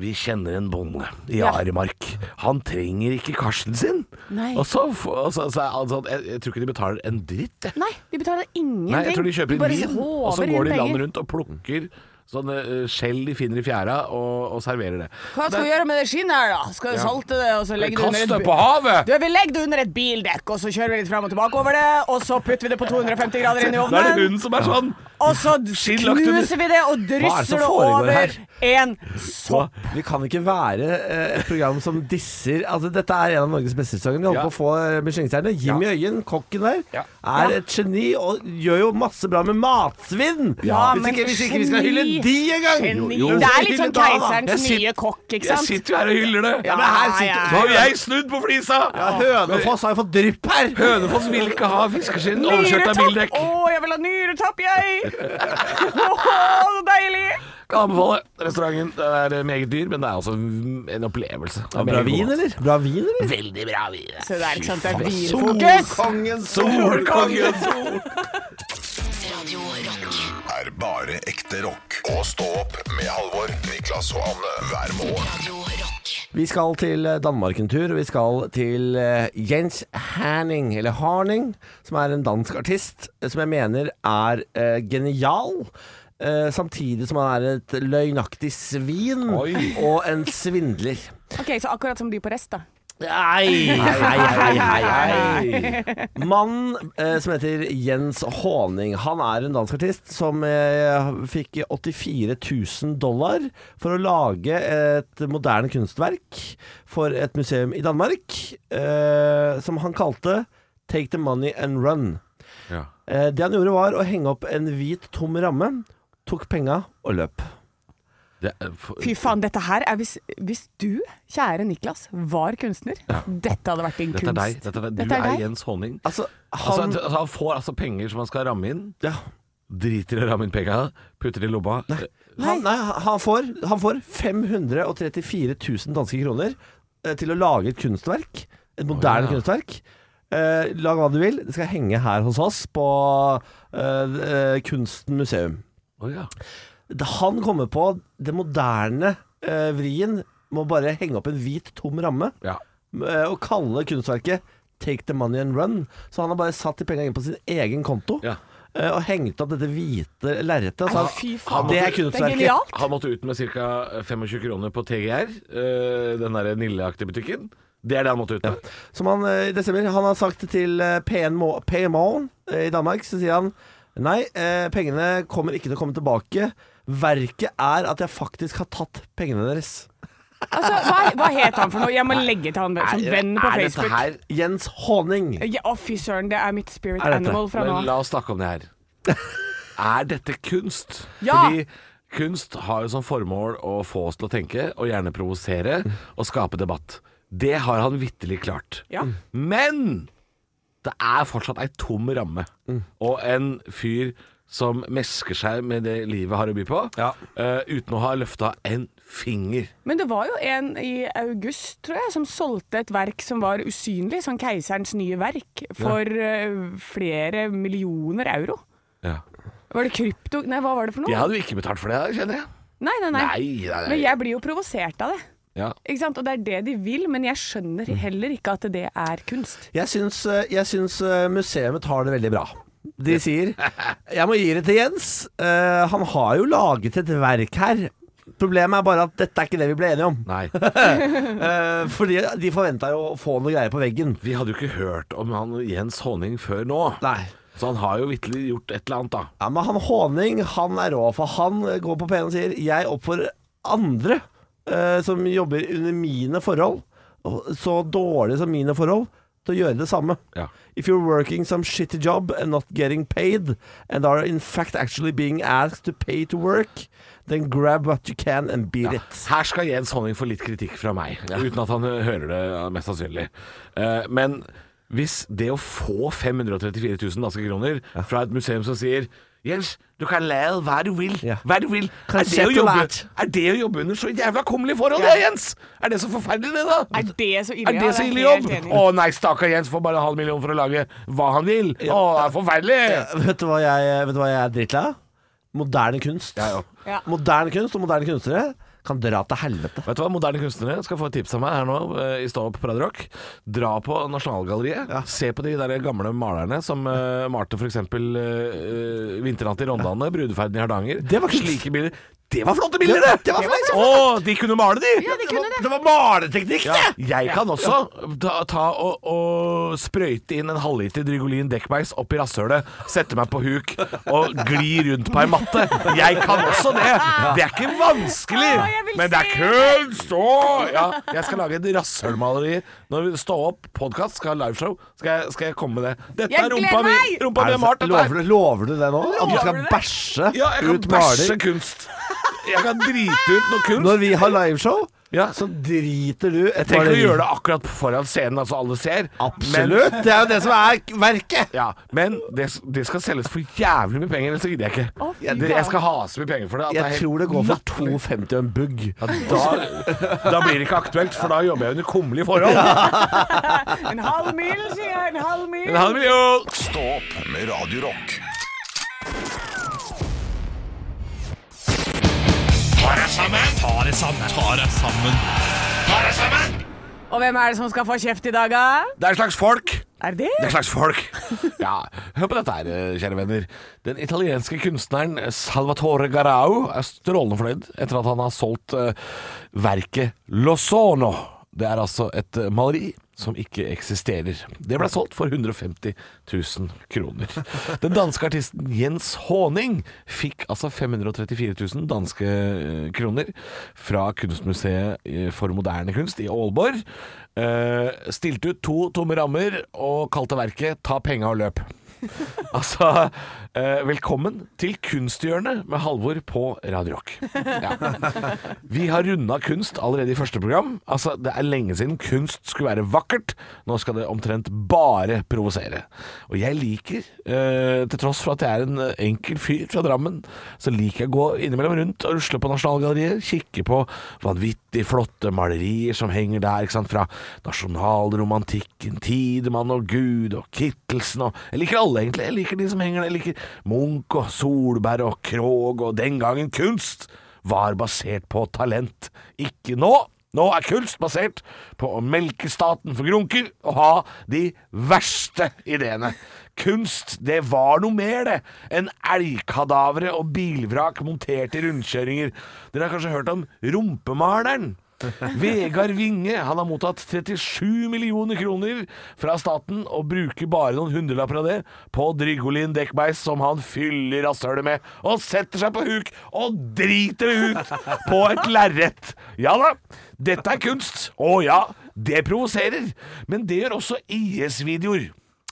S3: Vi kjenner en bonde i Aremark. Han trenger ikke karsten sin.
S6: Nei.
S3: Og så, f- og så, så er han sånn, jeg, jeg tror ikke de betaler en dritt, jeg.
S6: Nei, de betaler ingenting.
S3: Nei, jeg tror de kjøper
S6: bare
S3: inn vin, og så
S6: håver inn
S3: går de
S6: penger.
S3: landet rundt og plukker sånne eh, skjell de finner i fjæra, og, og serverer det.
S6: Hva skal du gjøre med det skinnet her, da? Skal du salte det, og så legge det
S3: Kast
S6: under
S3: det
S6: et
S3: på havet!
S6: du, vi legger det under et bildekk, og så kjører vi litt fram og tilbake over det. Og så putter vi det på 250 grader inn i
S3: Da er det
S6: ovnen.
S3: hun som er sånn.
S6: Og så
S3: Skinn lagt under.
S6: knuser vi det og
S5: det som
S6: drysser det
S5: foregår
S6: over
S5: her?
S6: en sånn- sopp.
S5: Vi kan ikke være eh, et program som disser Altså, dette er en av Norges beste restauranter. Vi holder
S3: Ja.
S5: på å få eh, Michelin-stjerne. Jimmy Øyen, kokken der,
S3: Ja.
S5: er et geni og gjør jo masse bra med matsvinn!
S6: Ja,
S5: hvis,
S6: men
S5: ikke, hvis ikke vi skal
S6: geni-
S5: hylle de engang!
S6: Geni.
S3: jo.
S6: Det er litt
S5: Da,
S6: sånn
S5: da.
S3: Jeg
S6: keiserens
S3: sit-
S6: nye kokk, ikke
S3: Jeg
S6: sant?
S3: sitter jo her og hyller det.
S5: Ja, men her
S6: Ja, ja,
S5: sitter
S6: ja.
S3: Så har jeg snudd på flisa!
S5: Ja, Hønefoss har jo fått drypp her!
S3: Hønefoss vil ikke ha fiskeskinn overkjørt av bildekk.
S6: Å, jeg vil ha nyretapp, jeg! Åh, så deilig!
S3: Kan anbefale restauranten. Den er eh, meget dyr, men det er også en opplevelse. Det er
S5: Bra
S3: meget
S5: vin,
S3: god mat.
S5: eller? Bra vin, eller?
S3: Veldig bra vin.
S6: Så det er ikke sant, det er vinfokus.
S5: Solkongen,
S3: Solkongen!
S9: Radio Rock.
S2: er bare ekte rock. Og stå opp med Halvor, Niklas og Anne hver morgen.
S9: Radio Rock.
S5: Vi skal til eh, Danmark en tur, og vi skal til eh, Jens Hanning, eller Harning, som er en dansk artist eh, som jeg mener er eh, genial. eh, samtidig som han er et løgnaktig svin
S3: Oi.
S5: og en svindler.
S6: Ok, så akkurat som de på rest, da.
S5: Nei, nei, nei, nei, nei. Mannen eh, som heter Jens Håning, han er en dansk artist som eh, fikk 84 000 dollar for å lage et moderne kunstverk for et museum i Danmark, eh, som han kalte Take the money and run.
S3: Ja.
S5: Eh, det han gjorde var å henge opp en hvit tom ramme, tok penga og løp.
S3: Det er for-
S6: Fy faen, dette her er hvis, hvis du, kjære Niklas, var kunstner. Dette hadde vært din
S3: Dette er deg.
S6: kunst.
S3: Dette er, du
S6: Dette er
S3: er
S6: deg.
S3: Jens Honning.
S5: Altså,
S3: Altså,
S5: han
S3: altså, han får altså penger som han skal ramme inn.
S5: ja.
S3: Driter i å ramme inn penga, putter det i lomma.
S5: Han, nei, han, får, han får 534 000 danske kroner eh, til å lage et kunstverk. Et
S3: Å,
S5: moderne
S3: ja.
S5: kunstverk. Eh, lag hva du vil. Det skal henge her hos oss på eh, eh, Kunsten museum.
S3: Å ja.
S5: Da Han kommer på det moderne eh, vrien med å bare henge opp en hvit, tom ramme
S3: ja.
S5: eh, og kalle kunstverket 'Take the money and run'. Så han har bare satt de pengene inn på sin egen konto
S3: Ja.
S5: eh, og hengt opp dette hvite lerretet. og så
S6: Nei,
S5: han-
S6: fy faen.
S5: Det er
S6: Det er
S5: kunstverket.
S6: genialt.
S3: Han måtte ut med ca. 25 kroner på TGR, eh, den der Nille-aktige butikken. Det er det han måtte ut med.
S5: Som han eh, i desember Han har sagt til eh, PN Mo- PMO eh, i Danmark, så sier han Nei, eh, pengene kommer ikke til å komme tilbake. Verket er at jeg faktisk har tatt pengene deres.
S6: Altså, hva, hva het han for noe? Jeg må legge til han som venn på
S3: er dette
S6: Facebook.
S3: her
S5: Jens Håning.
S6: Ja, Å, fy søren, det er mitt spirit
S5: Er dette-
S6: animal fra nå
S3: Men
S6: av.
S3: la oss snakke om det her. Er dette kunst?
S6: Ja!
S3: Fordi kunst har jo som formål å få oss til å tenke, og gjerne provosere,
S6: Mm.
S3: og skape debatt. Det har han vitterlig klart.
S6: Ja.
S3: Men det er fortsatt ei tom ramme,
S6: Mm.
S3: og en fyr som mesker seg med det livet har å by på,
S5: Ja.
S3: eh, uten å ha løfta en finger.
S6: Men det var jo en i august, tror jeg, som solgte et verk som var usynlig, sånn Keiserens nye verk, for eh, flere millioner euro. Var det krypto... Nei, hva var det for noe?
S3: Jeg hadde jo ikke betalt for det, kjenner jeg.
S6: Nei, nei, nei.
S3: Nei, nei, nei.
S6: Men jeg blir jo provosert av det.
S3: Ja.
S6: Ikke sant? Og det er det de vil, men jeg skjønner heller ikke at det er kunst.
S5: Jeg syns, eh, jeg syns eh, museet tar det veldig bra. De sier Jeg må gi det til Jens. Eh, han har jo laget et verk her. Problemet er bare at dette er ikke det vi ble enige om.
S3: Nei.
S5: Eh, fordi de forventa jo å få noe greier på veggen.
S3: Vi hadde jo ikke hørt om han Jens Honning før nå.
S5: Nei.
S3: Så han har jo vitterlig gjort et eller annet, da.
S5: Ja, men han Håning, han er rå, for han eh, går på P1 og sier Jeg oppfordrer andre eh, som jobber under mine forhold, og så dårlig som mine forhold, til å gjøre det samme.
S3: Ja.
S5: If you're working some shitty job and not getting paid, and are in fact actually being asked to pay to work, then grab what you can and beat it.
S3: Her skal Jens Honning få litt kritikk fra meg, uten at han hører det, ja, mest sannsynlig. Eh, men hvis det å få 534 000 danske kroner fra et museum som sier Jens, du kan lære hva du vil.
S5: Ja.
S3: Hva du vil. Er det, å
S5: sette
S3: jobbe,
S5: lært.
S3: er det å jobbe under så jævla kummerlige forhold, det, Jens? Er det så forferdelig, det, da?
S4: Er det så ille?
S3: Er det så ille jobb? Å nei, stakkar Jens får bare en halv million for å lage hva han vil. Å, det er forferdelig.
S5: Eh, Vet du hva jeg, vet du hva jeg er drittlei av? Moderne kunst.
S4: Ja.
S5: Moderne kunst og moderne kunstnere kan dra til helvete.
S3: Vet du hva, moderne kunstnere skal få et tips av meg her nå eh, i Stå opp på Radio Rock. Dra på Nasjonalgalleriet. Se på de der gamle malerne som eh, malte f.eks. Uh, 'Vinternatt i Rondane', 'Brudeferden i Hardanger'.
S5: Det var kunst.
S3: Slike bilder. Det var flotte bilder, det!
S5: Det var flott, det
S3: Å, de kunne male, de!
S5: Det var, det var maleteknikk, det!
S3: Jeg kan også ta, ta og, og sprøyte inn en halvliter Drygolin Deckbergs opp i rasshølet, sette meg på huk og gli rundt på ei matte. Jeg kan også det! Det er ikke vanskelig,
S4: Å, jeg vil
S3: men det er
S4: se
S3: kunst! Å, ja, jeg skal lage et rasshølmaleri. Når vi står opp, podkast, skal ha liveshow, skal jeg, skal jeg komme med det. Dette
S4: Jeg
S3: er rumpa
S4: gleder
S3: mi!
S4: meg!
S3: Rumpa mi er malt. dette her.
S5: Lover du, lover du det nå? At du skal
S4: du det?
S5: bæsje
S3: Ja, jeg kan
S5: ut
S3: bæsje
S5: maler?
S3: kunst. Jeg kan drite ut noe kunst.
S5: Når vi har liveshow,
S3: Ja.
S5: så driter du et
S3: Tenk å gjøre det akkurat foran scenen, altså alle ser. Men-
S5: Absolutt! Det er jo det som er verket!
S3: Ja, men det, det skal selges for jævlig mye penger, ellers gidder jeg ikke. det, jeg skal ha så mye penger for det. at det er
S5: Jeg
S3: helt
S5: tror det går for
S3: latterlig.
S5: 2,50 og en bugg.
S3: da, da blir det ikke aktuelt, for da jobber jeg under kummerlige forhold.
S4: En halv mil, sier jeg. En halv mil.
S3: En halv million!
S2: Stå opp med Radio Rock.
S4: Og hvem er det som skal få kjeft i dag, da?
S3: Det er et slags folk.
S4: Er det?
S3: Det er et slags folk. Ja, Hør på dette her, eh, kjære venner. Den italienske kunstneren Salvatore Garau er strålende fornøyd etter at han har solgt eh, verket Lozano. Det er altså et eh, maleri som ikke eksisterer. Det ble solgt for 150 000 kroner. Den danske artisten Jens Håning fikk altså 534 000 danske eh, kroner fra Kunstmuseet eh, for moderne kunst i Aalborg. Eh, stilte ut to tomme rammer og kalte verket 'Ta penga og løp'. Altså, eh, velkommen til Kunsthjørnet med Halvor på Radio Rock. Ja. Vi har runda kunst allerede i første program. Altså, Det er lenge siden kunst skulle være vakkert. Nå skal det omtrent bare provosere. Og jeg liker, eh, til tross for at jeg er en eh, enkel fyr fra Drammen, så liker jeg å gå innimellom rundt og rusle på Nasjonalgalleriet. Kikke på vanvittig flotte malerier som henger der. ikke sant? Fra nasjonalromantikken, Tidemann og Gud og Kittelsen og Jeg liker alle, egentlig. Jeg liker de som henger der. Jeg liker Munch og Solberg og Krog og den gangen kunst var basert på talent. Ikke nå. Nå er kunst basert på å melke staten for grunker og ha de verste ideene. Kunst, det var noe mer, det, enn elgkadavere og bilvrak montert i rundkjøringer. Dere har kanskje hørt om rumpemaleren? Vegard Winge han har mottatt 37 millioner kroner fra staten og bruker bare noen hundrelapper av det på Drygolin Dekkbeis, som han fyller rasshølet med, og setter seg på huk og driter det ut på et lerret. Ja da, dette er kunst. Å ja, det provoserer. Men det gjør også IS-videoer.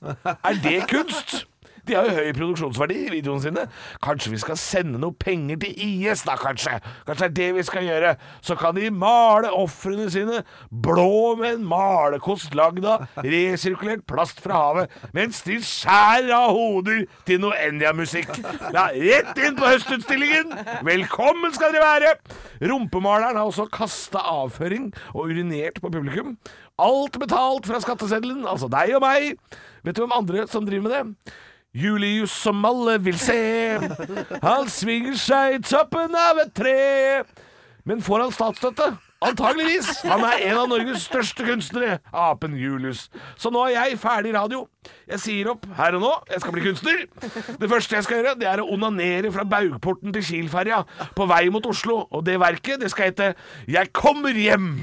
S3: Er det kunst? De har jo høy produksjonsverdi i videoene sine. Kanskje vi skal sende noe penger til IS, da, kanskje? Kanskje det er det vi skal gjøre? Så kan de male ofrene sine blå med en malerkost lagd av resirkulert plast fra havet, mens de skjærer av hoder til noe Enja-musikk. Ja, rett inn på høstutstillingen! Velkommen skal dere være! Rumpemaleren har også kasta avføring og urinert på publikum. Alt betalt fra skatteseddelen, altså deg og meg. Vet du hvem andre som driver med det? Julius som alle vil se. Han svinger seg i toppen av et tre. Men får han statsstøtte? Antageligvis. Han er en av Norges største kunstnere, apen Julius. Så nå er jeg ferdig i radio. Jeg sier opp her og nå. Jeg skal bli kunstner. Det første jeg skal gjøre, det er å onanere fra Baugporten til Kielferja på vei mot Oslo. Og det verket, det skal hete 'Jeg kommer hjem'.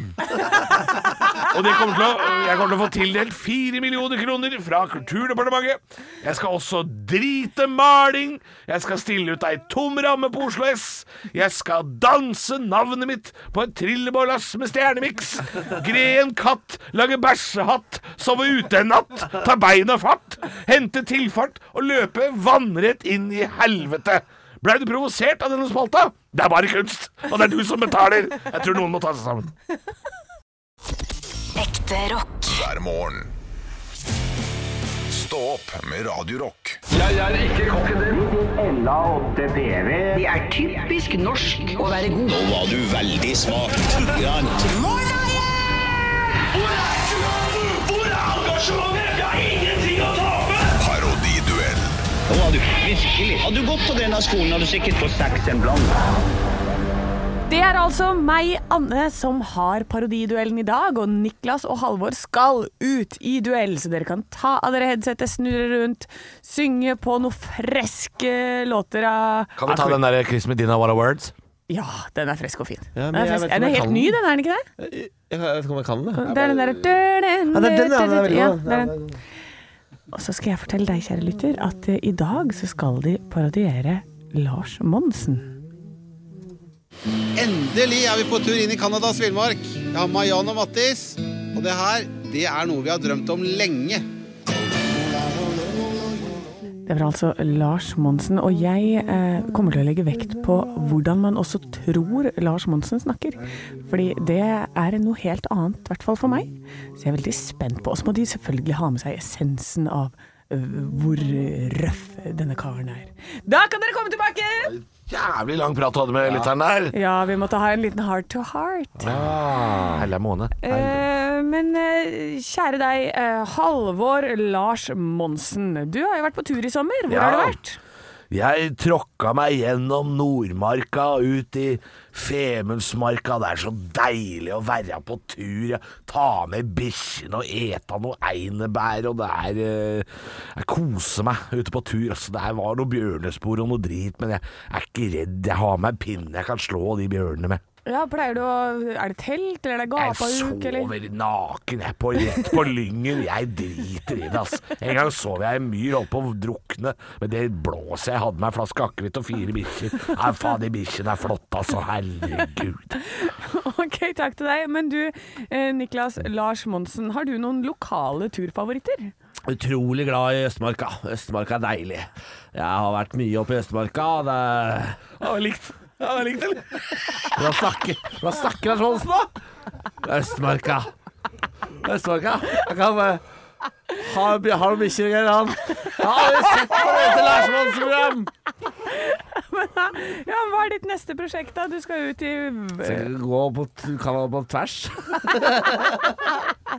S3: Og det kommer til å, jeg kommer til å få tildelt fire millioner kroner fra Kulturdepartementet. Jeg skal også drite maling. Jeg skal stille ut ei tom ramme på Oslo S. Jeg skal danse navnet mitt på en trillebårlass med stjernemiks. Gre en katt, lage bæsjehatt, sove ute en natt, ta beina fatt, hente tilfart og løpe vannrett inn i helvete. Blei du provosert av denne spalta? Det er bare kunst, og det er du som betaler. Jeg tror noen må ta seg sammen.
S1: Ekte rock.
S2: hver morgen. Stå opp med Radio Rock.
S10: Det er typisk norsk å være god. Nå var du veldig smart.
S2: Parodiduell
S10: Nå var du virkelig. Hadde du gått på denne skolen, hadde du sikkert fått seks en blant.
S4: Det er altså meg, Anne, som har parodiduellen i dag, og Niklas og Halvor skal ut i duell, så dere kan ta av dere headsetet, snurre rundt, synge på noen freske låter av
S3: Kan vi ta den der Chris Medina What a Words?
S4: Ja, den er fresk og fin.
S5: Ja, men
S4: den er,
S5: jeg
S4: fresk.
S5: vet ikke om
S4: den er
S5: jeg
S4: helt
S5: kan
S4: ny, den
S5: den.
S4: er den ikke det?
S5: Jeg, jeg vet ikke om jeg kan det.
S4: Det er den derre Ja,
S5: det er den, ja, den er veldig god.
S4: det er den. Og så skal jeg fortelle deg, kjære lytter, at eh, i dag så skal de parodiere Lars Monsen.
S11: Endelig er vi på tur inn i Canadas villmark. Jeg har med Jan og Mattis. Og det her, det er noe vi har drømt om lenge.
S4: Det var altså Lars Monsen, og jeg eh, kommer til å legge vekt på hvordan man også tror Lars Monsen snakker. Fordi det er noe helt annet, i hvert fall for meg. Så jeg er veldig spent på. Og så må de selvfølgelig ha med seg essensen av eh, hvor røff denne karen er. Da kan dere komme tilbake!
S3: Jævlig lang prat du hadde med lytteren der.
S4: Ja, vi måtte ha en liten heart to heart.
S3: Helle måne.
S4: Eh, men eh, kjære deg, eh, Halvor Lars Monsen. Du har jo vært på tur i sommer. Hvor har du
S3: Ja.
S4: vært?
S3: Jeg tråkka meg gjennom Nordmarka og ut i Femundsmarka. Det er så deilig å være på tur. ja. Ta med bikkjene og ete noe einebær. Og det er eh, Jeg koser meg ute på tur. Altså, det er- var noe bjørnespor og noe drit, men jeg er ikke redd. Jeg har med en pinne jeg kan slå de bjørnene med.
S4: Ja, pleier du å Er det telt, eller er
S3: Jeg
S4: det gapahuk, eller?
S3: sover naken, jeg, på rett på lyngen. Jeg driter i det, ass. En gang sov jeg i en myr, holdt på å drukne. Men det blåser jeg hadde meg en flaske akevitt og fire bikkjer. Nei, faen, de bikkjene er flotte, altså. Herregud.
S4: Ok, takk til deg. Men du, eh, Niklas Lars Monsen, har du noen lokale turfavoritter?
S5: Utrolig glad i Østmarka. Østmarka er deilig. Jeg har vært mye oppe i Østmarka. Det er... Det var likt. Det var likt, eller? Hva snakker, hva snakker Lars Monsen da? Østmarka. Østmarka. Jeg kan bare... Har har du bikkjer og greier, han? Jeg har aldri sett på dette Lars Monsen-program!
S4: Ja, Hva er ditt neste prosjekt, da? Du skal ut i
S5: Skal vi Gå på, t- kan han gå på tvers?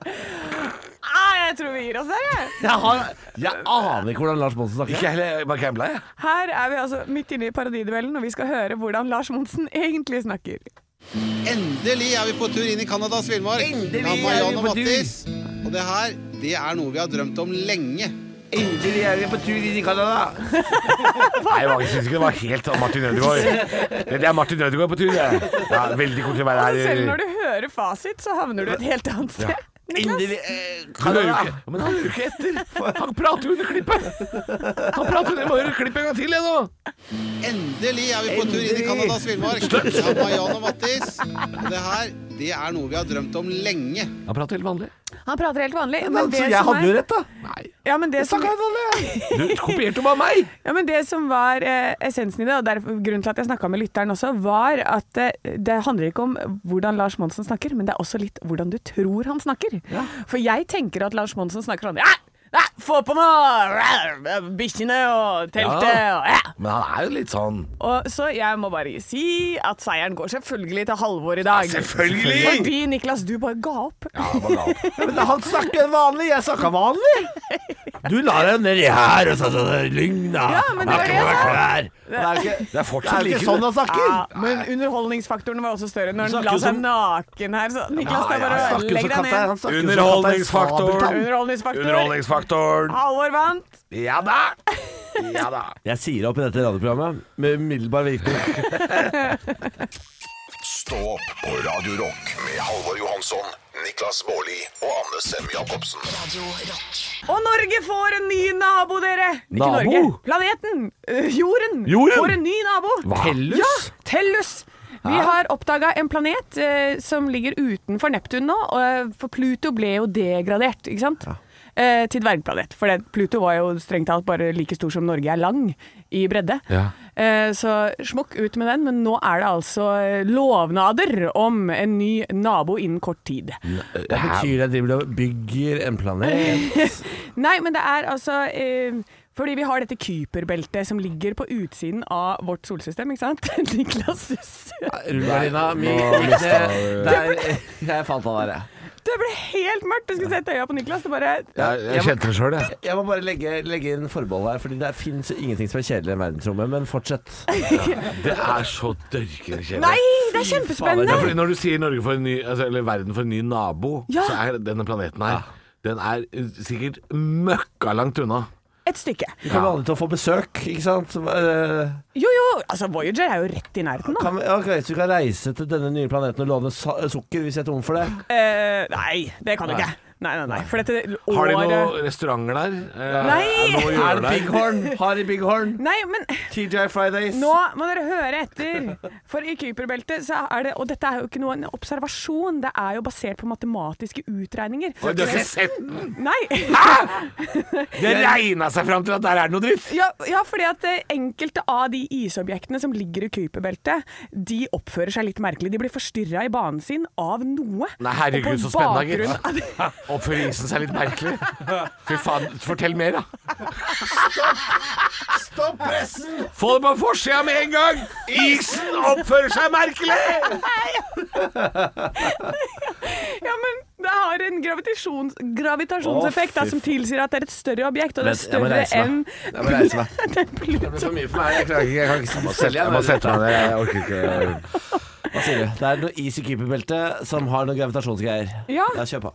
S4: ah, Jeg tror vi gir oss der, jeg.
S5: Jeg, har, jeg aner ikke hvordan Lars Monsen snakker.
S3: Ikke heller bare gambla, jeg.
S4: Her er vi altså midt inne i parodiduellen, og vi skal høre hvordan Lars Monsen egentlig snakker.
S11: Endelig er vi på tur inn i Canadas villmark.
S5: Endelig
S11: Jeg
S5: er vi
S11: har med Jan og
S5: på tur.
S11: Mattis. Og det her, det er noe vi har drømt om lenge.
S5: Endelig er vi på tur inn i Canada.
S3: Nei, jeg syns ikke det var helt sånn Martin Ødegaard. Det er Martin Ødegaard på tur, det. Ja, veldig kort til å være
S4: Altså,
S3: her.
S4: selv når du hører fasit, så havner du et helt annet sted. Niklas?
S5: Endelig eh,
S3: Han er jo
S5: Canada.
S3: ikke, men han er jo ikke etter. Han prater jo under klippet. Han prater under, Jeg må høre klippet en gang til, jeg nå.
S11: Endelig er vi på tur inn i Canadas villmark. Jeg har med Jan og Mattis. Og det her, det er noe vi har drømt om lenge.
S3: Han prater helt vanlig.
S4: Han prater helt vanlig. Men,
S5: Så
S4: det,
S5: jeg
S4: som
S5: hadde jo
S4: er,
S5: rett, da.
S4: ja, men, det, som,
S3: Du kopierte bare meg.
S4: ja, men det som var eh, essensen i det, og derfor, grunnen til at jeg snakka med lytteren også, var at eh, det handler ikke om hvordan Lars Monsen snakker, men det er også litt hvordan du tror han snakker. For jeg tenker at Lars Monsen snakker sånn «Ja, ja, Få på noe ja, bikkjene og teltet og ja.
S3: Men han er jo litt sånn
S4: Og så jeg må bare si at seieren går selvfølgelig til Halvor i dag.
S3: Ja, selvfølgelig!
S4: Fordi Niklas, du bare ga opp.
S3: Ja, han var gal.
S5: Men han snakker vanlig, jeg snakker vanlig! Du la deg nedi her og sa sånn Lygna.
S4: Ja, men det var det jeg
S5: Det er jo ikke,
S3: Det er
S5: det
S3: fortsatt
S5: er jo
S3: like
S5: ikke sånn han snakker.
S4: Men underholdningsfaktoren var også større når han
S5: snakker
S4: la
S5: jo
S4: seg
S5: som-
S4: naken her. Så Niklas, det er
S5: han
S4: bare å
S5: snakker jo
S4: legge
S5: som
S4: deg
S5: katta,
S4: ned.
S5: han snakker jo som
S3: Underholdningsfaktor.
S5: katta i sabeltann.
S4: Underholdningsfaktor.
S3: Underholdningsfaktoren.
S4: Halvor vant.
S3: Ja da! Ja da.
S5: Jeg sier det opp i dette radioprogrammet med umiddelbar virkning.
S2: Stå opp på Radio Rock med Halvor Johansson, Niklas Baarli og Anne Sem Jacobsen.
S1: Radio Rock.
S4: Og Norge får en ny nabo, dere! Ikke
S3: Nabo?
S4: Norge. Planeten. øh, jorden.
S3: Jorden?
S4: Får en ny nabo.
S3: Hva? Tellus?
S4: Ja, Tellus. Vi har oppdaga en planet eh, som ligger utenfor Neptun nå, og, eh, for Pluto ble jo degradert, ikke sant? Eh, til dvergplanet. For det, Pluto var jo strengt talt bare like stor som Norge er lang i bredde.
S3: Ja.
S4: Eh, så smokk ut med den, men nå er det altså eh, lovnader om en ny nabo innen kort tid.
S5: Det betyr det driver og bygger en planet.
S4: Nei, men det er altså eh, Fordi vi har dette Kuiperbeltet som ligger på utsiden av vårt solsystem, ikke sant? Niklas susser.
S5: Rullegardina mi Jeg falt av der, jeg.
S4: Det ble helt mørkt! Du skulle sett øya på Niklas. Det bare
S3: Jeg, jeg kjente det sjøl, jeg.
S5: Jeg må bare legge, legge inn forbehold her, Fordi det fins ingenting som er kjedeligere enn verdensrommet. Men fortsett.
S3: Det er så dørkende kjedelig.
S4: Nei, det er
S3: Ja,
S4: kjempespennende!
S3: fordi når du sier Norge for en ny, altså, eller verden for en ny nabo,
S4: Ja.
S3: så er denne planeten her Den er eh, sikkert møkka langt unna.
S4: Et stykke.
S5: Vi kommer aldri til å få besøk, ikke sant? Eh,
S4: Jo jo, altså Voyager er jo rett i nærheten, da.
S5: Kan vi, ok, så vi kan reise til denne nye planeten og låne sa- sukker hvis jeg er tom for det?
S4: Eh, nei, det kan du ikke. Nei, nei, nei. For dette
S3: Har de
S4: året
S3: noen restauranter der? Eh,
S4: Nei.
S3: Er det noe å
S5: Er
S3: gjøre
S5: det
S3: der?
S5: Bighorn? Harry Bighorn?
S4: Nei, men
S5: TJ Fridays?
S4: Nå må dere høre etter. For i Kuiperbeltet så er det Og dette er jo ikke noen observasjon, det er jo basert på matematiske utregninger.
S3: Oi, Du har ikke sett den?
S4: Nei!
S3: Det regna seg fram til at der er det noe dritt!
S4: Ja, ja, fordi at eh, enkelte av de isobjektene som ligger i Kuiperbeltet, de oppfører seg litt merkelig. De blir forstyrra i banen sin av noe.
S3: Nei, herregud,
S4: Og på
S3: så spennende, gitt.
S4: bakgrunn av det-
S3: Oppfører isen seg litt merkelig? Fy faen, fortell mer, da.
S5: Stopp pressen!
S3: Få det på forsida med en gang! Isen oppfører seg merkelig!
S4: Ja, men det har en gravitasjons, gravitasjonseffekt da,
S5: Å, fy
S4: som tilsier at det er et større objekt, og det er
S5: Vent,
S4: større
S5: jeg må reise meg.
S4: enn
S5: Jeg må reise meg.
S4: enn Pluto.
S5: for mye for meg. Jeg klarer ikke. Jeg kan ikke
S3: Jeg må sette meg ned, jeg orker ikke.
S5: Hva sier du? Det er noe is i keeperbeltet som har noen gravitasjonsgreier.
S4: Ja.
S5: ja kjør på.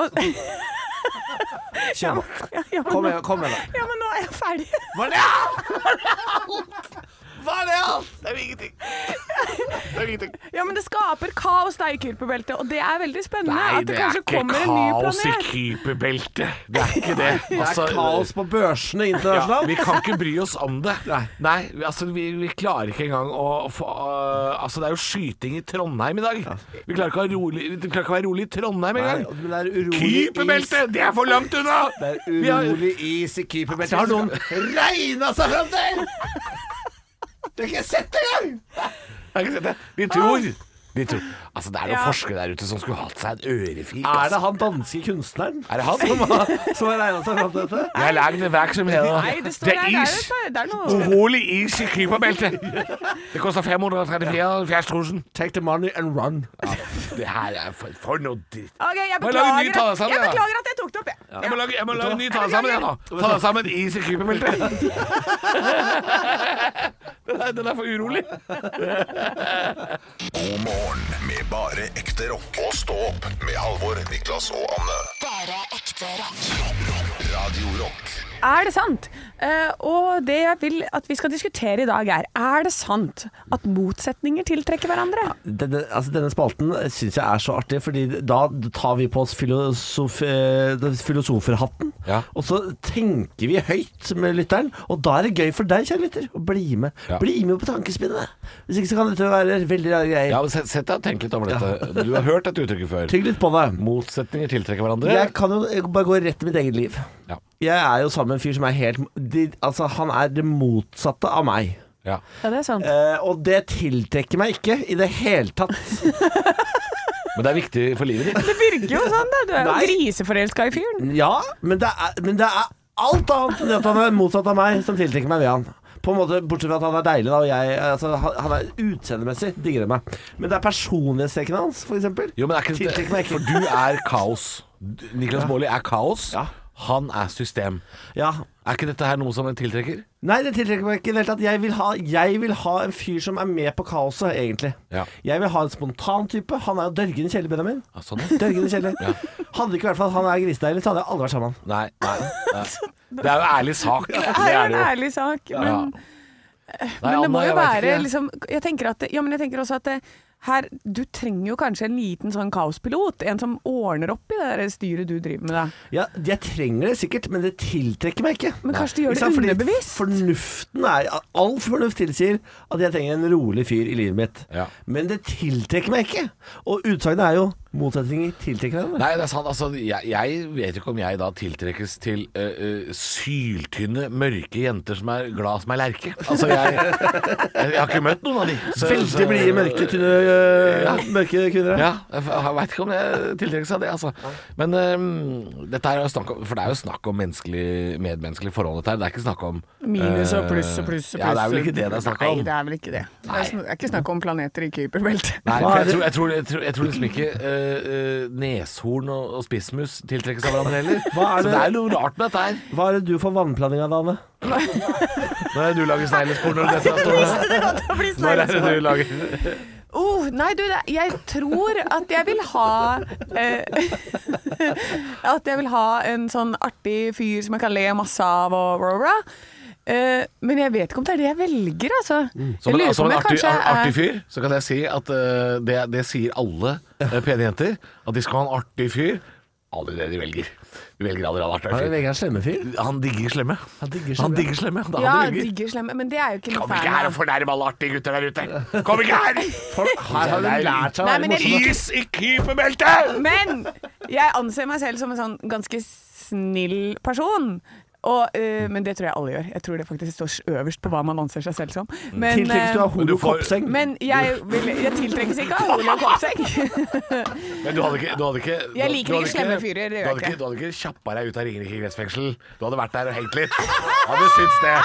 S4: Og,
S5: Kjør på.
S4: ja, ja, men
S5: Kom
S4: nå,
S5: igjen, kom igjen. da.
S4: ja, men nå er jeg ferdig.
S5: Var det alt? Var det alt? Det er jo ingenting. Det er ingenting.
S4: Ja, men det skaper kaos da i Kuiperbeltet, og det er veldig spennende.
S3: Nei,
S4: at det,
S3: det er
S4: kanskje
S3: ikke
S4: kommer en ny
S3: kaos i
S4: planet.
S3: kryperbeltet. Det er ikke det.
S5: Det
S3: Altså,
S5: er kaos på børsene
S3: Ja,
S5: internasjonalt.
S3: vi kan ikke bry oss om det. Nei, vi- altså vi, vi klarer ikke engang å få øh, Altså det er jo skyting i Trondheim i dag. Vi klarer ikke å, ha rolig, vi klarer ikke å være rolig i Trondheim
S5: Nei,
S3: engang.
S5: men det er urolig is.
S3: Kryperbeltet! Det er for langt unna!
S5: Det er
S3: Vi har-
S5: urolig is i keeperbeltet. Det har noen regna seg fram til! Du har ikke sett det engang!
S3: Jeg har ikke sett det. De tror. De tror. Altså det er noen
S4: Ja.
S3: forskere der ute som skulle hatt seg en ørefik.
S5: Er det
S3: altså.
S5: han danske kunstneren
S3: er det han?
S5: som har, som har regna seg fram til dette?
S3: Jeg har lagd en verk som heter
S4: Nei, det står der. Det er,
S3: is.
S4: jo- det er noe
S3: Urolig is i kryperbeltet. Det koster 534 000.
S5: Take the money and run.
S3: Det her er for, for noe dritt.
S4: Ok, jeg
S3: Må jeg lage en ny
S4: beklager, at,
S3: talesamling,
S4: jeg
S3: da?
S4: beklager at jeg tok det opp, jeg.
S3: Jeg må lage, jeg må lage en ny ta deg sammen, jeg, nå. Ta deg sammen i sekryperbeltet. Den, er- den er for urolig.
S2: God morgen med bare ekte rock. Og stå opp med Halvor, Niklas og Anne.
S1: Bare ekte rock.
S2: Radio Rock.
S4: Er det sant? Eh, og det jeg vil at vi skal diskutere i dag, er er det sant at motsetninger tiltrekker hverandre?
S5: Denne, altså denne spalten syns jeg er så artig, Fordi da tar vi på oss filosof, eh, filosoferhatten.
S3: Ja.
S5: Og så tenker vi høyt med lytteren, og da er det gøy for deg, kjære lytter, å bli med.
S3: Ja.
S5: Bli med på tankespinnet. Hvis ikke så kan dette være veldig rare greier.
S3: men Sett sett deg og tenk litt over dette. Du har hørt dette uttrykket før.
S5: Tygg litt på det.
S3: Motsetninger tiltrekker
S5: Jeg kan jo jeg bare gå rett til mitt eget liv.
S3: Ja.
S5: Jeg er jo sammen med en fyr som er helt de, Altså, han er det motsatte av meg.
S3: Ja.
S4: Ja, det er sant.
S5: Eh, og det tiltrekker meg ikke i det hele tatt.
S3: Men det er viktig for livet ditt.
S4: Det virker jo sånn, da. Du er jo
S5: Nei.
S4: griseforelska i fyren.
S5: Ja, men det er, men det er alt annet enn det at han er motsatt av meg, som tiltrekker meg ved han. På en måte, Bortsett fra at han er deilig, da, og jeg altså, han, han er utseendemessig digger han meg. Men det er personlighetstrekkene hans, for eksempel.
S3: Jo, men er ikke
S5: Tiltrekker meg
S3: det
S5: ikke.
S3: For du er kaos. Du- Niklas Baarli er kaos.
S5: Ja.
S3: Han er system.
S5: Ja.
S3: Er ikke dette her noe som en tiltrekker?
S5: Nei, det tiltrekker meg ikke i det hele tatt. Jeg vil, ha, jeg vil ha en fyr som er med på kaoset, egentlig.
S3: Ja.
S5: Jeg vil ha en spontan type. Han er jo dørgende kjedelig, Benjamin.
S3: Ja, sånn.
S5: Dørgende kjedelig. Hadde det ikke vært for at han er grisedeilig, så hadde jeg aldri vært sammen med han.
S3: Nei, nei, nei. Det er jo ærlig sak. Det
S6: Det er
S3: er
S6: jo
S3: det
S6: en
S3: jo.
S6: ærlig sak. Men,
S3: Ja. Nei,
S6: men det må
S3: Anna,
S6: jo
S3: jeg vet
S6: være
S3: ikke.
S6: liksom jeg tenker, at, det- ja, men jeg tenker også at det, her, du trenger jo kanskje en liten sånn kaospilot. En som ordner opp i det der styret du driver med. Da.
S5: Ja, jeg trenger det sikkert, men det tiltrekker meg ikke.
S6: Men kanskje du gjør
S5: Ikke
S6: det
S5: sant? Fordi
S6: underbevisst?
S5: Fornuften er All fornuft tilsier at jeg trenger en rolig fyr i livet mitt.
S3: Ja.
S5: Men det tiltrekker meg ikke. Og utsagnet er jo motsetninger tiltrekker hverandre.
S3: Nei, det er sant. Altså, jeg, jeg vet ikke om jeg da tiltrekkes til eh, eh, syltynne, mørke jenter som er glad som ei lerke. Altså, jeg, jeg har ikke møtt noen av de. Så-
S5: Veldig
S3: så-
S5: blide, mørke, tynne, øh, mørke kvinner.
S3: Ja, jeg f- jeg veit ikke om jeg tiltrekkes av det, altså. Men ehm, dette her er jo snakk om For det er jo snakk om menneskelig, medmenneskelig forhold, dette her. Det er ikke snakk om
S6: Minus og
S3: eh,
S6: pluss og pluss og pluss.
S3: Ja, det er vel ikke det det er snakk om.
S6: Nei, det er vel ikke det. Det er, sn- det er ikke snakk om planeter i Kuiperbeltet.
S3: Nei, for jeg tror, jeg, tror, jeg, tror, jeg tror liksom ikke eh, eh, neshorn og, og spissmus tiltrekkes av hverandre heller.
S5: Hva er
S3: Så
S5: det-
S3: det er noe rart med dette her.
S5: Hva er det du får vannplaning av, Dane?
S3: Når er det du lager sneglespor når dette her står der? Når er det du lager
S6: Oh, nei, du, det, jeg tror at jeg vil ha eh, At jeg vil ha en sånn artig fyr som jeg kan le masse av og bra, bra. Eh, men jeg vet ikke om det er det jeg velger, altså.
S5: Mm.
S3: Som
S6: Jeg
S3: en,
S6: lurer på
S3: som
S6: om
S3: en
S6: jeg
S3: artig,
S6: kanskje er-
S3: artig fyr, så kan jeg si at eh, det, det sier alle eh, pene jenter. At de skal ha en artig fyr. Aldri det de velger. De velger aldri en artig
S5: Er det
S3: fyr.
S5: Vegard slemme fyr?
S3: Han digger slemme. Han
S5: digger slemme.
S3: Han digger slemme. Det er
S6: Ja,
S3: han du velger.
S6: digger slemme. Men det er jo ikke noe
S3: Kom ikke her og fornærm alle artige gutter der ute! Kom ikke her!
S5: Her har du lært seg å
S6: Nei,
S5: være
S6: men jeg-
S5: morsom.
S3: Is i keeperbeltet!
S6: Men jeg anser meg selv som en sånn ganske snill person. Og, eh, men det tror jeg alle gjør. Jeg tror det faktisk står øverst på hva man anser seg selv som. Men,
S5: Mm. Tiltrekkes du
S6: eh,
S5: av
S3: Men du
S5: hode og
S3: får-
S5: koppseng?
S6: men jeg, vil, jeg tiltrekkes ikke av hode og koppseng.
S3: Men du hadde ikke, du hadde ikke du-
S6: Jeg liker
S3: du hadde
S6: ikke slemme fyrer, det gjør
S3: Du
S6: jeg
S3: hadde
S6: ikke.
S3: ikke, du hadde ikke kjappa deg ut av Ringerike kretsfengsel. Du hadde vært der og hengt litt. Hadde syntes det.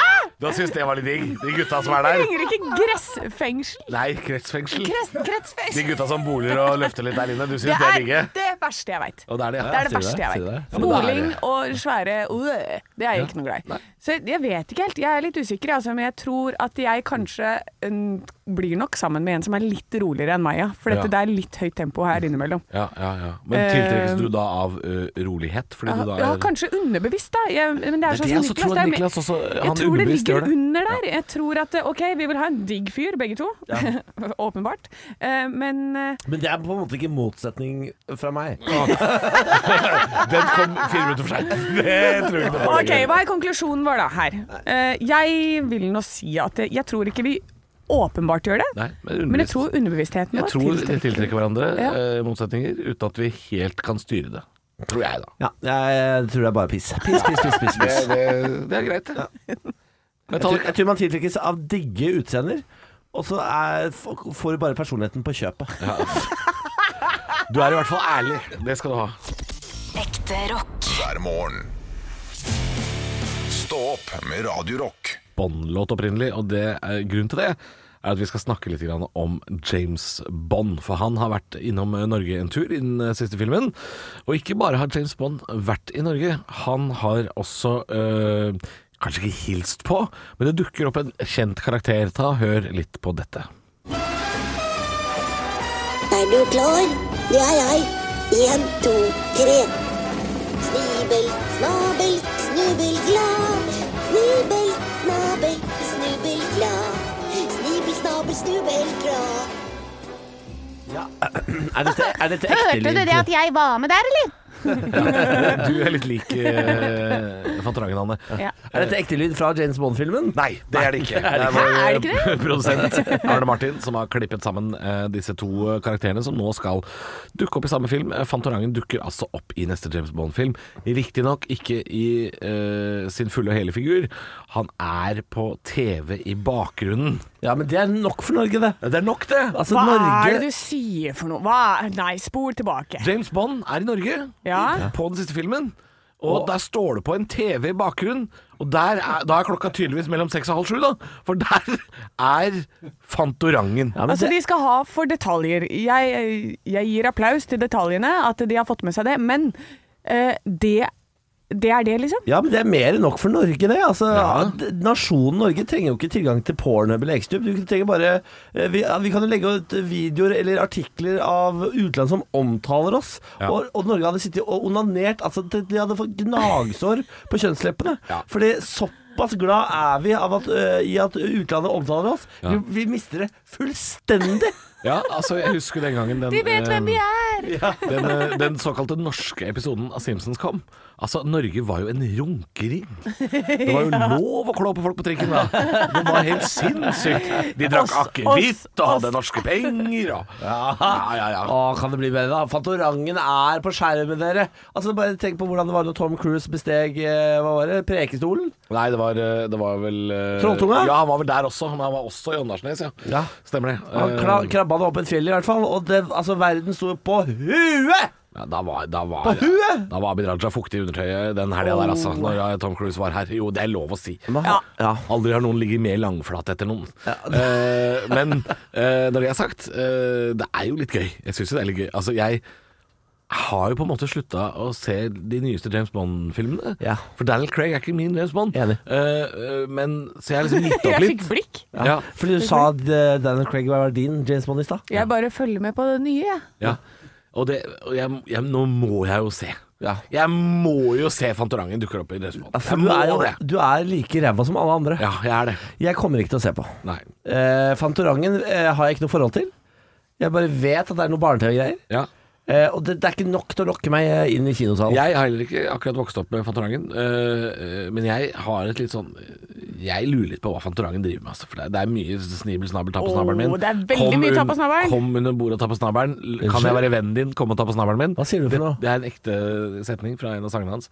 S3: Du hadde syntes det var litt digg. De gutta som er der.
S6: Trenger ikke gressfengsel.
S3: Nei, kretsfengsel.
S6: Krets, kretsfengsel.
S3: De gutta som boler og løfter litt der inne. Du
S6: Det
S3: syns det er
S6: er
S3: digge?
S6: det verste jeg veit.
S3: Og det er det, ja.
S6: Det er det
S5: sier
S6: verste
S5: det,
S6: jeg
S5: sier det.
S6: vet.
S5: Ja, men da er
S6: Boling og svære øh, Det er jeg ikke noe glad i. Så jeg vet ikke helt. Jeg er litt usikker, jeg, altså, men jeg tror at jeg kanskje mm, blir nok sammen med en som er litt roligere enn meg, ja. For dette,
S3: Ja.
S6: det er litt høyt tempo her innimellom.
S3: Ja, ja, ja. Men tiltrekkes du da av ø, rolighet? Fordi du da er
S6: Eh, Ja, kanskje underbevisst, da. Jeg, men
S3: Det
S6: det er
S3: er
S6: sånn
S3: det jeg
S6: som
S3: også
S6: Niklas.
S3: tror,
S6: det er mer-
S3: Niklas også, han
S6: jeg tror det
S3: underbevisst gjør
S6: ligger
S3: det.
S6: under der. Jeg tror at OK, vi vil ha en digg fyr, begge to. Åpenbart. Eh, Men eh,
S5: Men det er på en måte ikke motsetning fra meg.
S3: Den kom fire minutter for seint. Det tror jeg ikke noe på.
S6: Ok, Hva er konklusjonen vår da her? Eh, jeg vil nå si at jeg, jeg tror ikke vi åpenbart gjør det,
S3: Nei, men
S6: men jeg
S3: underbevisst.
S6: tror underbevisstheten
S3: Jeg
S6: vår
S3: tror de
S6: tiltrekker.
S3: tiltrekker hverandre,
S6: Ja.
S3: ø, motsetninger, uten at vi helt kan styre det. Tror jeg, da.
S5: Ja, jeg tror det er bare piss. Piss, piss, piss, piss. piss.
S3: Det, er greit, det.
S5: Jeg tror, jeg tror man tiltrekkes av digge utseender, og så er, f- får du bare personligheten på kjøpet.
S3: Du er i hvert fall ærlig. Det skal du ha.
S12: Ekte rock.
S2: hver morgen. Stå opp med Radio Rock.
S3: Bond-låt opprinnelig, og det er grunnen til det er at vi skal snakke litt grann om James Bond. For han har vært innom eh, Norge en tur i den eh, siste filmen. Og ikke bare har James Bond vært i Norge, han har også eh, kanskje ikke hilst på, men det dukker opp en kjent karakter. Ta og Hør litt på dette.
S13: Er du klar? Det er jeg. En, to, tre. Snibel, snabel, snubel, glad. Snibel, snabel, snubel, glad. Snibel, snabel, snubel, glad.
S5: Er dette, er dette ekte lyd?
S13: at jeg var med der, eller?
S3: Du er litt lik uh, Fantorangen, Hanne.
S5: Er dette ekte lyd fra James Bond-filmen?
S3: Nei, det er det ikke. Det er
S6: Hæ, er
S3: vår eh,
S6: det ikke
S3: produsent Arne Martin som har klippet sammen eh, disse to eh, karakterene som nå skal dukke opp i samme film. Eh, Fantorangen dukker altså opp i neste James Bond-film. Riktignok ikke i eh, sin fulle og hele figur. Han er på TV i bakgrunnen.
S5: Ja, men det er nok for Norge, det.
S3: Det er nok, det!
S5: Altså,
S6: Hva er det
S5: Norge
S6: du sier for noe? Hva? er- Nei, spol tilbake.
S3: James Bond er i Norge
S6: Ja.
S3: på den siste filmen. Og der står det på en TV i bakgrunnen, og der er, da er klokka tydeligvis mellom seks og halv sju, da. For der er Fantorangen.
S5: ja, men
S6: Altså,
S5: det,
S6: De skal ha for detaljer. Jeg, jeg gir applaus til detaljene, at de har fått med seg det, men eh, det
S4: Det er det, liksom?
S5: Ja, men det er mer enn nok for Norge, det. Altså, d- Nasjonen Norge trenger jo ikke tilgang til pornhub eller Xtube. Du trenger bare eh, vi, ja, vi kan jo legge ut videoer eller artikler av utland som omtaler oss.
S3: Ja.
S5: Og, og Norge hadde sittet og onanert. Altså, de, de hadde fått gnagsår på kjønnsleppene.
S3: Ja.
S5: Fordi såpass glad er vi av at, eh, i at utlandet omtaler oss.
S3: Ja.
S5: Vi, vi mister det fullstendig.
S3: Ja, altså jeg husker den gangen den,
S4: De vet hvem vi
S3: eh,
S4: er!
S3: den, eh, den såkalte norske episoden av Simpsons kom. Altså, Norge var jo en runkering. Det var jo lov å klå på folk på trikken da. Det var helt sinnssykt. De drakk
S4: Oss,
S3: akevitt
S4: oss,
S3: og hadde
S4: oss.
S3: norske penger og Ja, ja, ja.
S5: Å, kan det bli bedre, da? Fantorangen er på skjermen, dere. Altså, Bare tenk på hvordan det var når Tom Cruise besteg eh, hva var det, Prekestolen.
S3: Nei, det var, eh, det var vel eh,
S5: Trolltunga?
S3: Ja, han var vel der også. Men han var også i Åndalsnes, ja.
S5: Ja.
S3: Stemmer det.
S5: Han
S3: Eh,
S5: kla- krabba det opp et fjell, i hvert fall. Og det, altså, verden sto på huet!
S3: Ja, da var, da var,
S5: På huet!
S3: Da var Abid Raja fuktig i undertøyet den helga der, altså. Når eh, Tom Cruise var her. Jo, det er lov å si.
S5: Ja. ja.
S3: Aldri har noen ligget mer langflat etter noen. Eh, men eh, når det er sagt, eh, det er jo litt gøy. Jeg syns jo det er litt gøy. Altså, jeg har jo på en måte slutta å se de nyeste James Bond-filmene.
S5: Ja.
S3: For Daniel Craig er ikke min James Bond.
S5: Enig.
S3: Eh, eh, men så jeg har liksom gitt opp
S4: Jeg
S3: litt.
S4: fikk blikk.
S3: Ja.
S5: Fordi du sa at eh, Daniel Craig var din James Bond i stad.
S4: Jeg bare følger med på det nye, jeg.
S3: Ja. Og, det, og jeg, jeg, nå må jeg jo se.
S5: Ja.
S3: Jeg må jo se Fantorangen dukker opp i James Bond.
S5: For
S3: Jeg
S5: du
S3: må
S5: er jo
S3: det.
S5: du er like ræva som alle andre.
S3: Ja, jeg er det.
S5: Jeg kommer ikke til å se på.
S3: Nei.
S5: Eh, Fantorangen eh, har jeg ikke noe forhold til. Jeg bare vet at det er noe barne-TV-greier.
S3: Ja.
S5: Eh, og det, det er ikke nok til å lokke meg eh, inn i kinosalen.
S3: Jeg har heller ikke akkurat vokst opp med Fantorangen, øh, øh, men jeg har et litt sånn Jeg lurer litt på hva Fantorangen driver med. Altså, for det, er- det er mye snibel, snabel, ta på snabelen min.
S4: Åh, det er veldig mye ta på snabelen.
S3: Kom under bordet og ta på snabelen. L- Kan jeg
S5: Unnskyld?
S3: være vennen din, kom og ta på snabelen min.
S5: Hva sier du for noe?
S3: Det, det er en ekte setning fra en av sangene hans.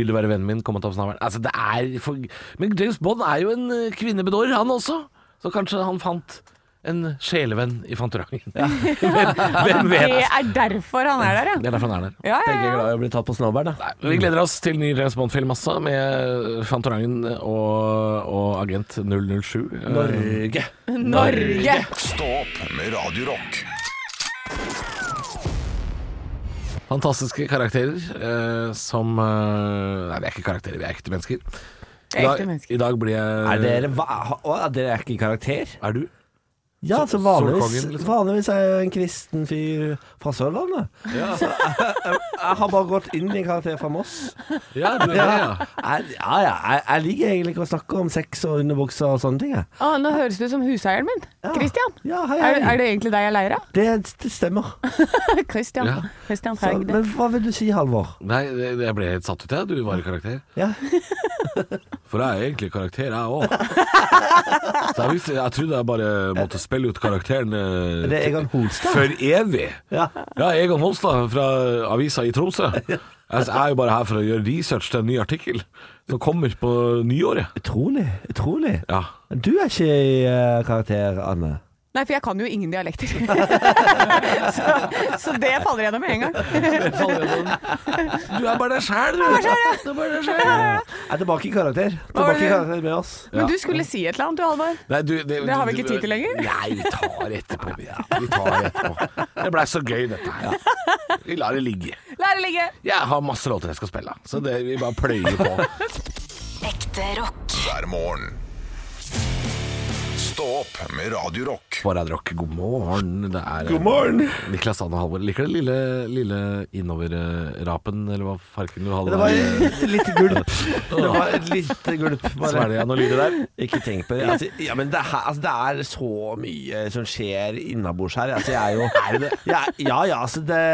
S3: Vil du være vennen min, kom og ta på snabelen. Altså, det er for, men James Bond er jo en øh, kvinnebedårer, han også. Så kanskje han fant en sjelevenn i Fantorangen. hvem, hvem vet?
S4: Det er derfor han er der, ja.
S3: Det er derfor han er der.
S4: Ja, ja,
S5: Begge er
S4: ja.
S5: glad i å bli tatt på snowboard, da.
S3: Nei, Vi gleder oss til ny James Bond-film altså, med Fantorangen og, og Agent 007. Eh,
S5: Norge.
S4: Norge!
S2: Stå opp med Radio Rock.
S3: Eh, Fantastiske karakterer eh, som eh, Nei, vi er ikke karakterer, vi er ekte mennesker. I
S4: er ekte
S3: dag,
S4: mennesker.
S3: I dag blir jeg
S5: Er dere, hva, ha- å, er dere ikke i karakter?
S3: Er du?
S5: Ja, så
S3: Solkongen,
S5: vanligvis,
S3: liksom.
S5: vanligvis er jeg jo en kristen fyr fra Sørlandet. Så jeg, jeg, jeg har bare gått inn i karakter fra Moss.
S3: Ja, du er det, ja.
S5: Jeg, ja, ja, jeg, jeg liker egentlig ikke å snakke om sex og underbukser og sånne ting. jeg.
S6: Å, nå høres du ut som huseieren min. Ah, Christian.
S5: Ja, hei, hei.
S6: Er, er det egentlig deg jeg er lei av?
S5: Det, det stemmer.
S6: Christian.
S3: Ja.
S6: Christian
S5: Så,
S6: Haugde.
S5: men hva vil du si, Halvor?
S3: Nei, det- jeg ble helt satt ut, jeg. Du var i karakter.
S5: Ja.
S3: For jeg er egentlig karakter, jeg òg. Så jeg, visste, jeg trodde jeg bare måtte spille ut karakteren eh,
S5: Det er Egon Holstad.
S3: for evig.
S5: Ja.
S3: Ja, Egon Holstad fra avisa i Tromsø. Jeg er jo bare her for å gjøre research til en ny artikkel som kommer på nyåret.
S5: Utrolig. Utrolig.
S3: Ja.
S5: Du er ikke i eh, karakter, Anne.
S6: Nei, for jeg kan jo ingen dialekter. så, så det faller gjennom med en gang.
S3: Du er bare deg sjæl, du. Du er bare deg selv.
S5: Jeg er tilbake i karakter. Tilbake i karakter med oss.
S6: Men du skulle si et eller annet, du, Halvor.
S3: Nei, du, det,
S6: Det har vi ikke tid til lenger.
S3: Nei, vi tar etterpå. vi. Vi tar etterpå. Det blei så gøy, dette her. Vi lar det ligge.
S6: La det ligge.
S3: Jeg har masse låter jeg skal spille, så det, vi bare pløyer på.
S1: Ekte rock.
S2: hver morgen. Stå opp med Radio Rock.
S3: på Radio Rock. God morgen. Det er
S5: God morgen.
S3: Niklas Sand og Halvor. Liker du den lille, lille innoverrapen, eller hva farken du hadde
S5: Det var et lite gulp. Det var et lite gulp. bare.
S3: Svelger jeg noen lyder der?
S5: Ikke tenk på det. Altså, ja, men det, her, altså, det er så mye som skjer innabords her. Altså, jeg er jo Ja, ja, ja altså, det,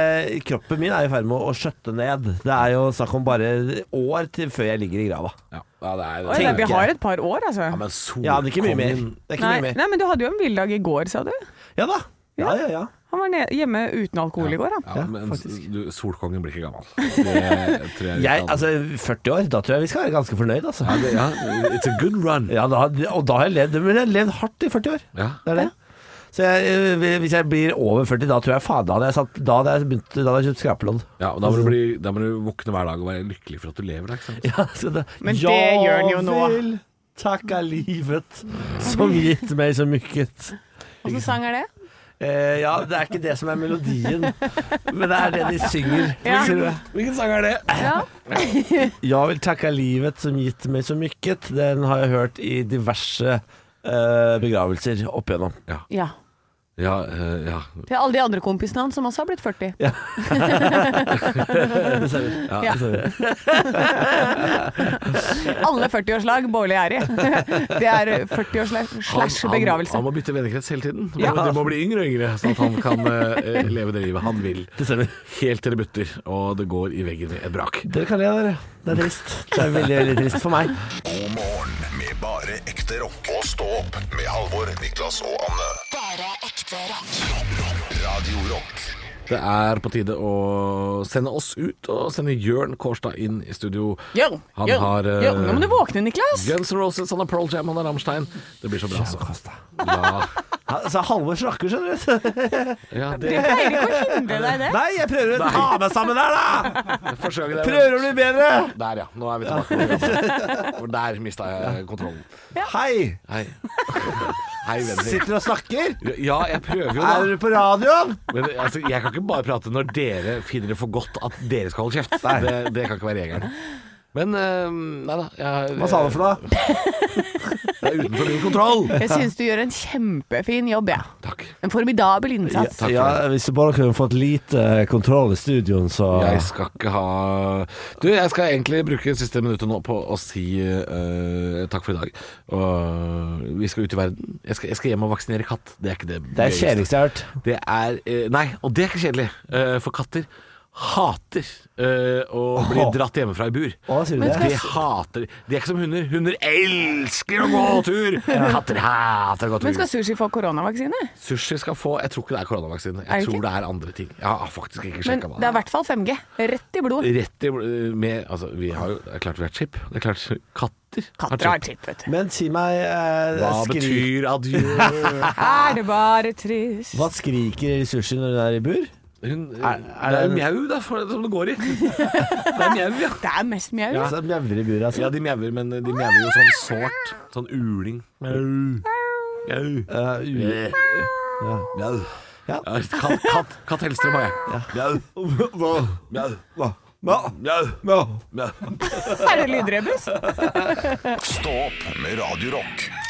S5: kroppen min er i ferd med å skjøtte ned. Det er jo snakk om bare år til før jeg ligger i grava.
S3: Ja, ja det er
S4: Oi, da, vi
S5: Tenker.
S4: har et par år, altså.
S3: ja, men solkongen
S5: Ja, det er ikke mye mer. Det er ikke
S4: Nei,
S5: mye mer.
S4: nei, men du hadde jo en villdag i går, sa du.
S5: Ja da. Ja, ja, ja.
S4: Han var ned, hjemme uten alkohol i går, han.
S3: Ja,
S5: Ja,
S3: men
S5: faktisk.
S3: du, Solkongen blir ikke gammel. Det tror jeg vi
S5: Jeg,
S3: kan-
S5: altså, 40 år, da tror jeg vi skal være ganske fornøyd, altså.
S3: ja, det, ja, It's a good run.
S5: Ja, da, og da har jeg levd Men jeg har levd hardt i 40 år.
S3: Ja.
S5: Det er det. Så jeg, eh, hvis jeg blir over 40, da tror jeg faen Da hadde jeg, satt, da hadde jeg, begynt, da hadde jeg kjøpt skrapelodd.
S3: Ja, og da må, du bli, da må du våkne hver dag og være lykkelig for at du lever. da, Ikke sant?
S5: Ja, så da-
S4: Men det
S5: «Jeg
S4: gjør den jo nå».
S5: vil takke livet som gitt meg så mye.
S6: Åssen sang er det?
S5: Eh, ja, det er ikke det som er melodien, men det er det de synger.
S4: Ja.
S5: Sier du?
S3: Hvilken sang er det?
S5: Jeg vil takke livet som gitt meg så mykket. Den har jeg hørt i diverse eh, begravelser opp igjennom.
S4: Ja.
S3: Ja, eh, ja.
S4: Til alle de andre kompisene hans som også har blitt 40.
S5: Ja.
S4: Alle 40-årslag Bårli er i. Det er 40-årslag
S3: Han-
S4: slash
S3: han-
S4: begravelse.
S3: Han må bytte vennekrets hele tiden. Det
S5: Ja.
S3: må, det må bli yngre og yngre, sånn at han kan eh, leve det livet han vil.
S5: Det stemmer.
S3: Helt til det butter, og det går i veggen i et brak.
S5: Dere kan le, dere. Det er trist. Det er veldig, veldig trist for meg.
S2: God morgen med bare ekte rock. Og stå opp med Halvor, Niklas og Anne.
S1: Bare ekte rock.
S2: Radio Rock.
S3: Det er på tide å sende oss ut, og sende Jørn Kårstad inn i studio.
S4: Yo,
S3: Han
S4: yo,
S3: har eh,
S4: yo, nå må du våkne, Niklas!
S3: Guns N' Roses, han har Pearl Jam, han har Rammstein. Det blir så bra. Så. Ja,
S5: Altså, Halvor snakker, skjønner du.
S3: ja, det
S4: Jeg pleier ikke å hindre deg i det.
S5: Nei, jeg prøver å ta meg sammen der, da!
S3: er første gangen jeg
S5: Prøver å bli bedre.
S3: Der, ja. Nå er vi tilbake. For der mista jeg kontrollen.
S5: Hei!
S3: Hei. Hei, venner.
S5: Sitter du og snakker?
S3: Ja, jeg prøver jo,
S5: Er
S3: da.
S5: du på radioen?
S3: Men altså, jeg kan ikke bare prate når dere finner det for godt at dere skal holde kjeft. Det, det kan ikke være regelen. Men eh, nei da. Jeg,
S5: Hva sa du for noe?
S3: Det er utenfor min kontroll.
S4: Jeg syns du gjør en kjempefin jobb, jeg.
S3: Takk.
S4: En formidabel innsats.
S3: takk for
S5: Ja, hvis du bare kunne fått lite eh, kontroll i studioen, så
S3: Jeg skal ikke ha Du, jeg skal egentlig bruke siste minuttet nå på å si eh, takk for i dag. Og vi skal ut i verden. Jeg skal, jeg skal hjem og vaksinere katt. Det er ikke det
S5: Det er
S3: gøyeste.
S5: kjedeligste jeg har hørt.
S3: Det er eh, Nei, og det er ikke kjedelig. eh, for katter hater eh, å bli
S5: Åh.
S3: dratt hjemmefra i bur.
S5: Å, sier du det?
S3: De hater De er ikke som hunder. Hunder elsker å gå tur! Katter hater å gå
S4: Men
S3: tur.
S4: skal sushi få koronavaksine?
S3: Sushi skal få Jeg tror ikke det er koronavaksine.
S4: Er det
S3: Jeg tror
S4: ikke?
S3: det er andre ting. Jeg har faktisk ikke
S4: Men
S3: sjekka hva
S4: det er i hvert fall 5G. Rett i blod.
S3: Rett i bl- med Altså, vi har jo Det er klart vi har chip. Det er klart katter
S4: Katter har chip, vet du.
S5: Men si meg eh,
S3: Hva
S5: skri
S3: betyr adjø?
S4: Er det bare trist
S5: Hva skriker sushi når hun er i bur?
S3: Hun,
S5: er
S3: det er
S5: det-
S3: mjau, da, for, som det går i. Det er mjau, ja.
S4: Det er mest mjau.
S5: Så mjauer i buret, altså.
S3: Ja, de mjauer, men de mjauer jo sånn sårt. Sånn uling. Mjau. Mjau.
S5: Eh, u-
S3: Mjau.
S5: Ja.
S3: Ja, Katt, katt, katt Hellstrøm har jeg. Mjau. Mjau. Mjau. Mjau.
S4: Er det lydrebus?
S2: Stå opp med Radio Rock.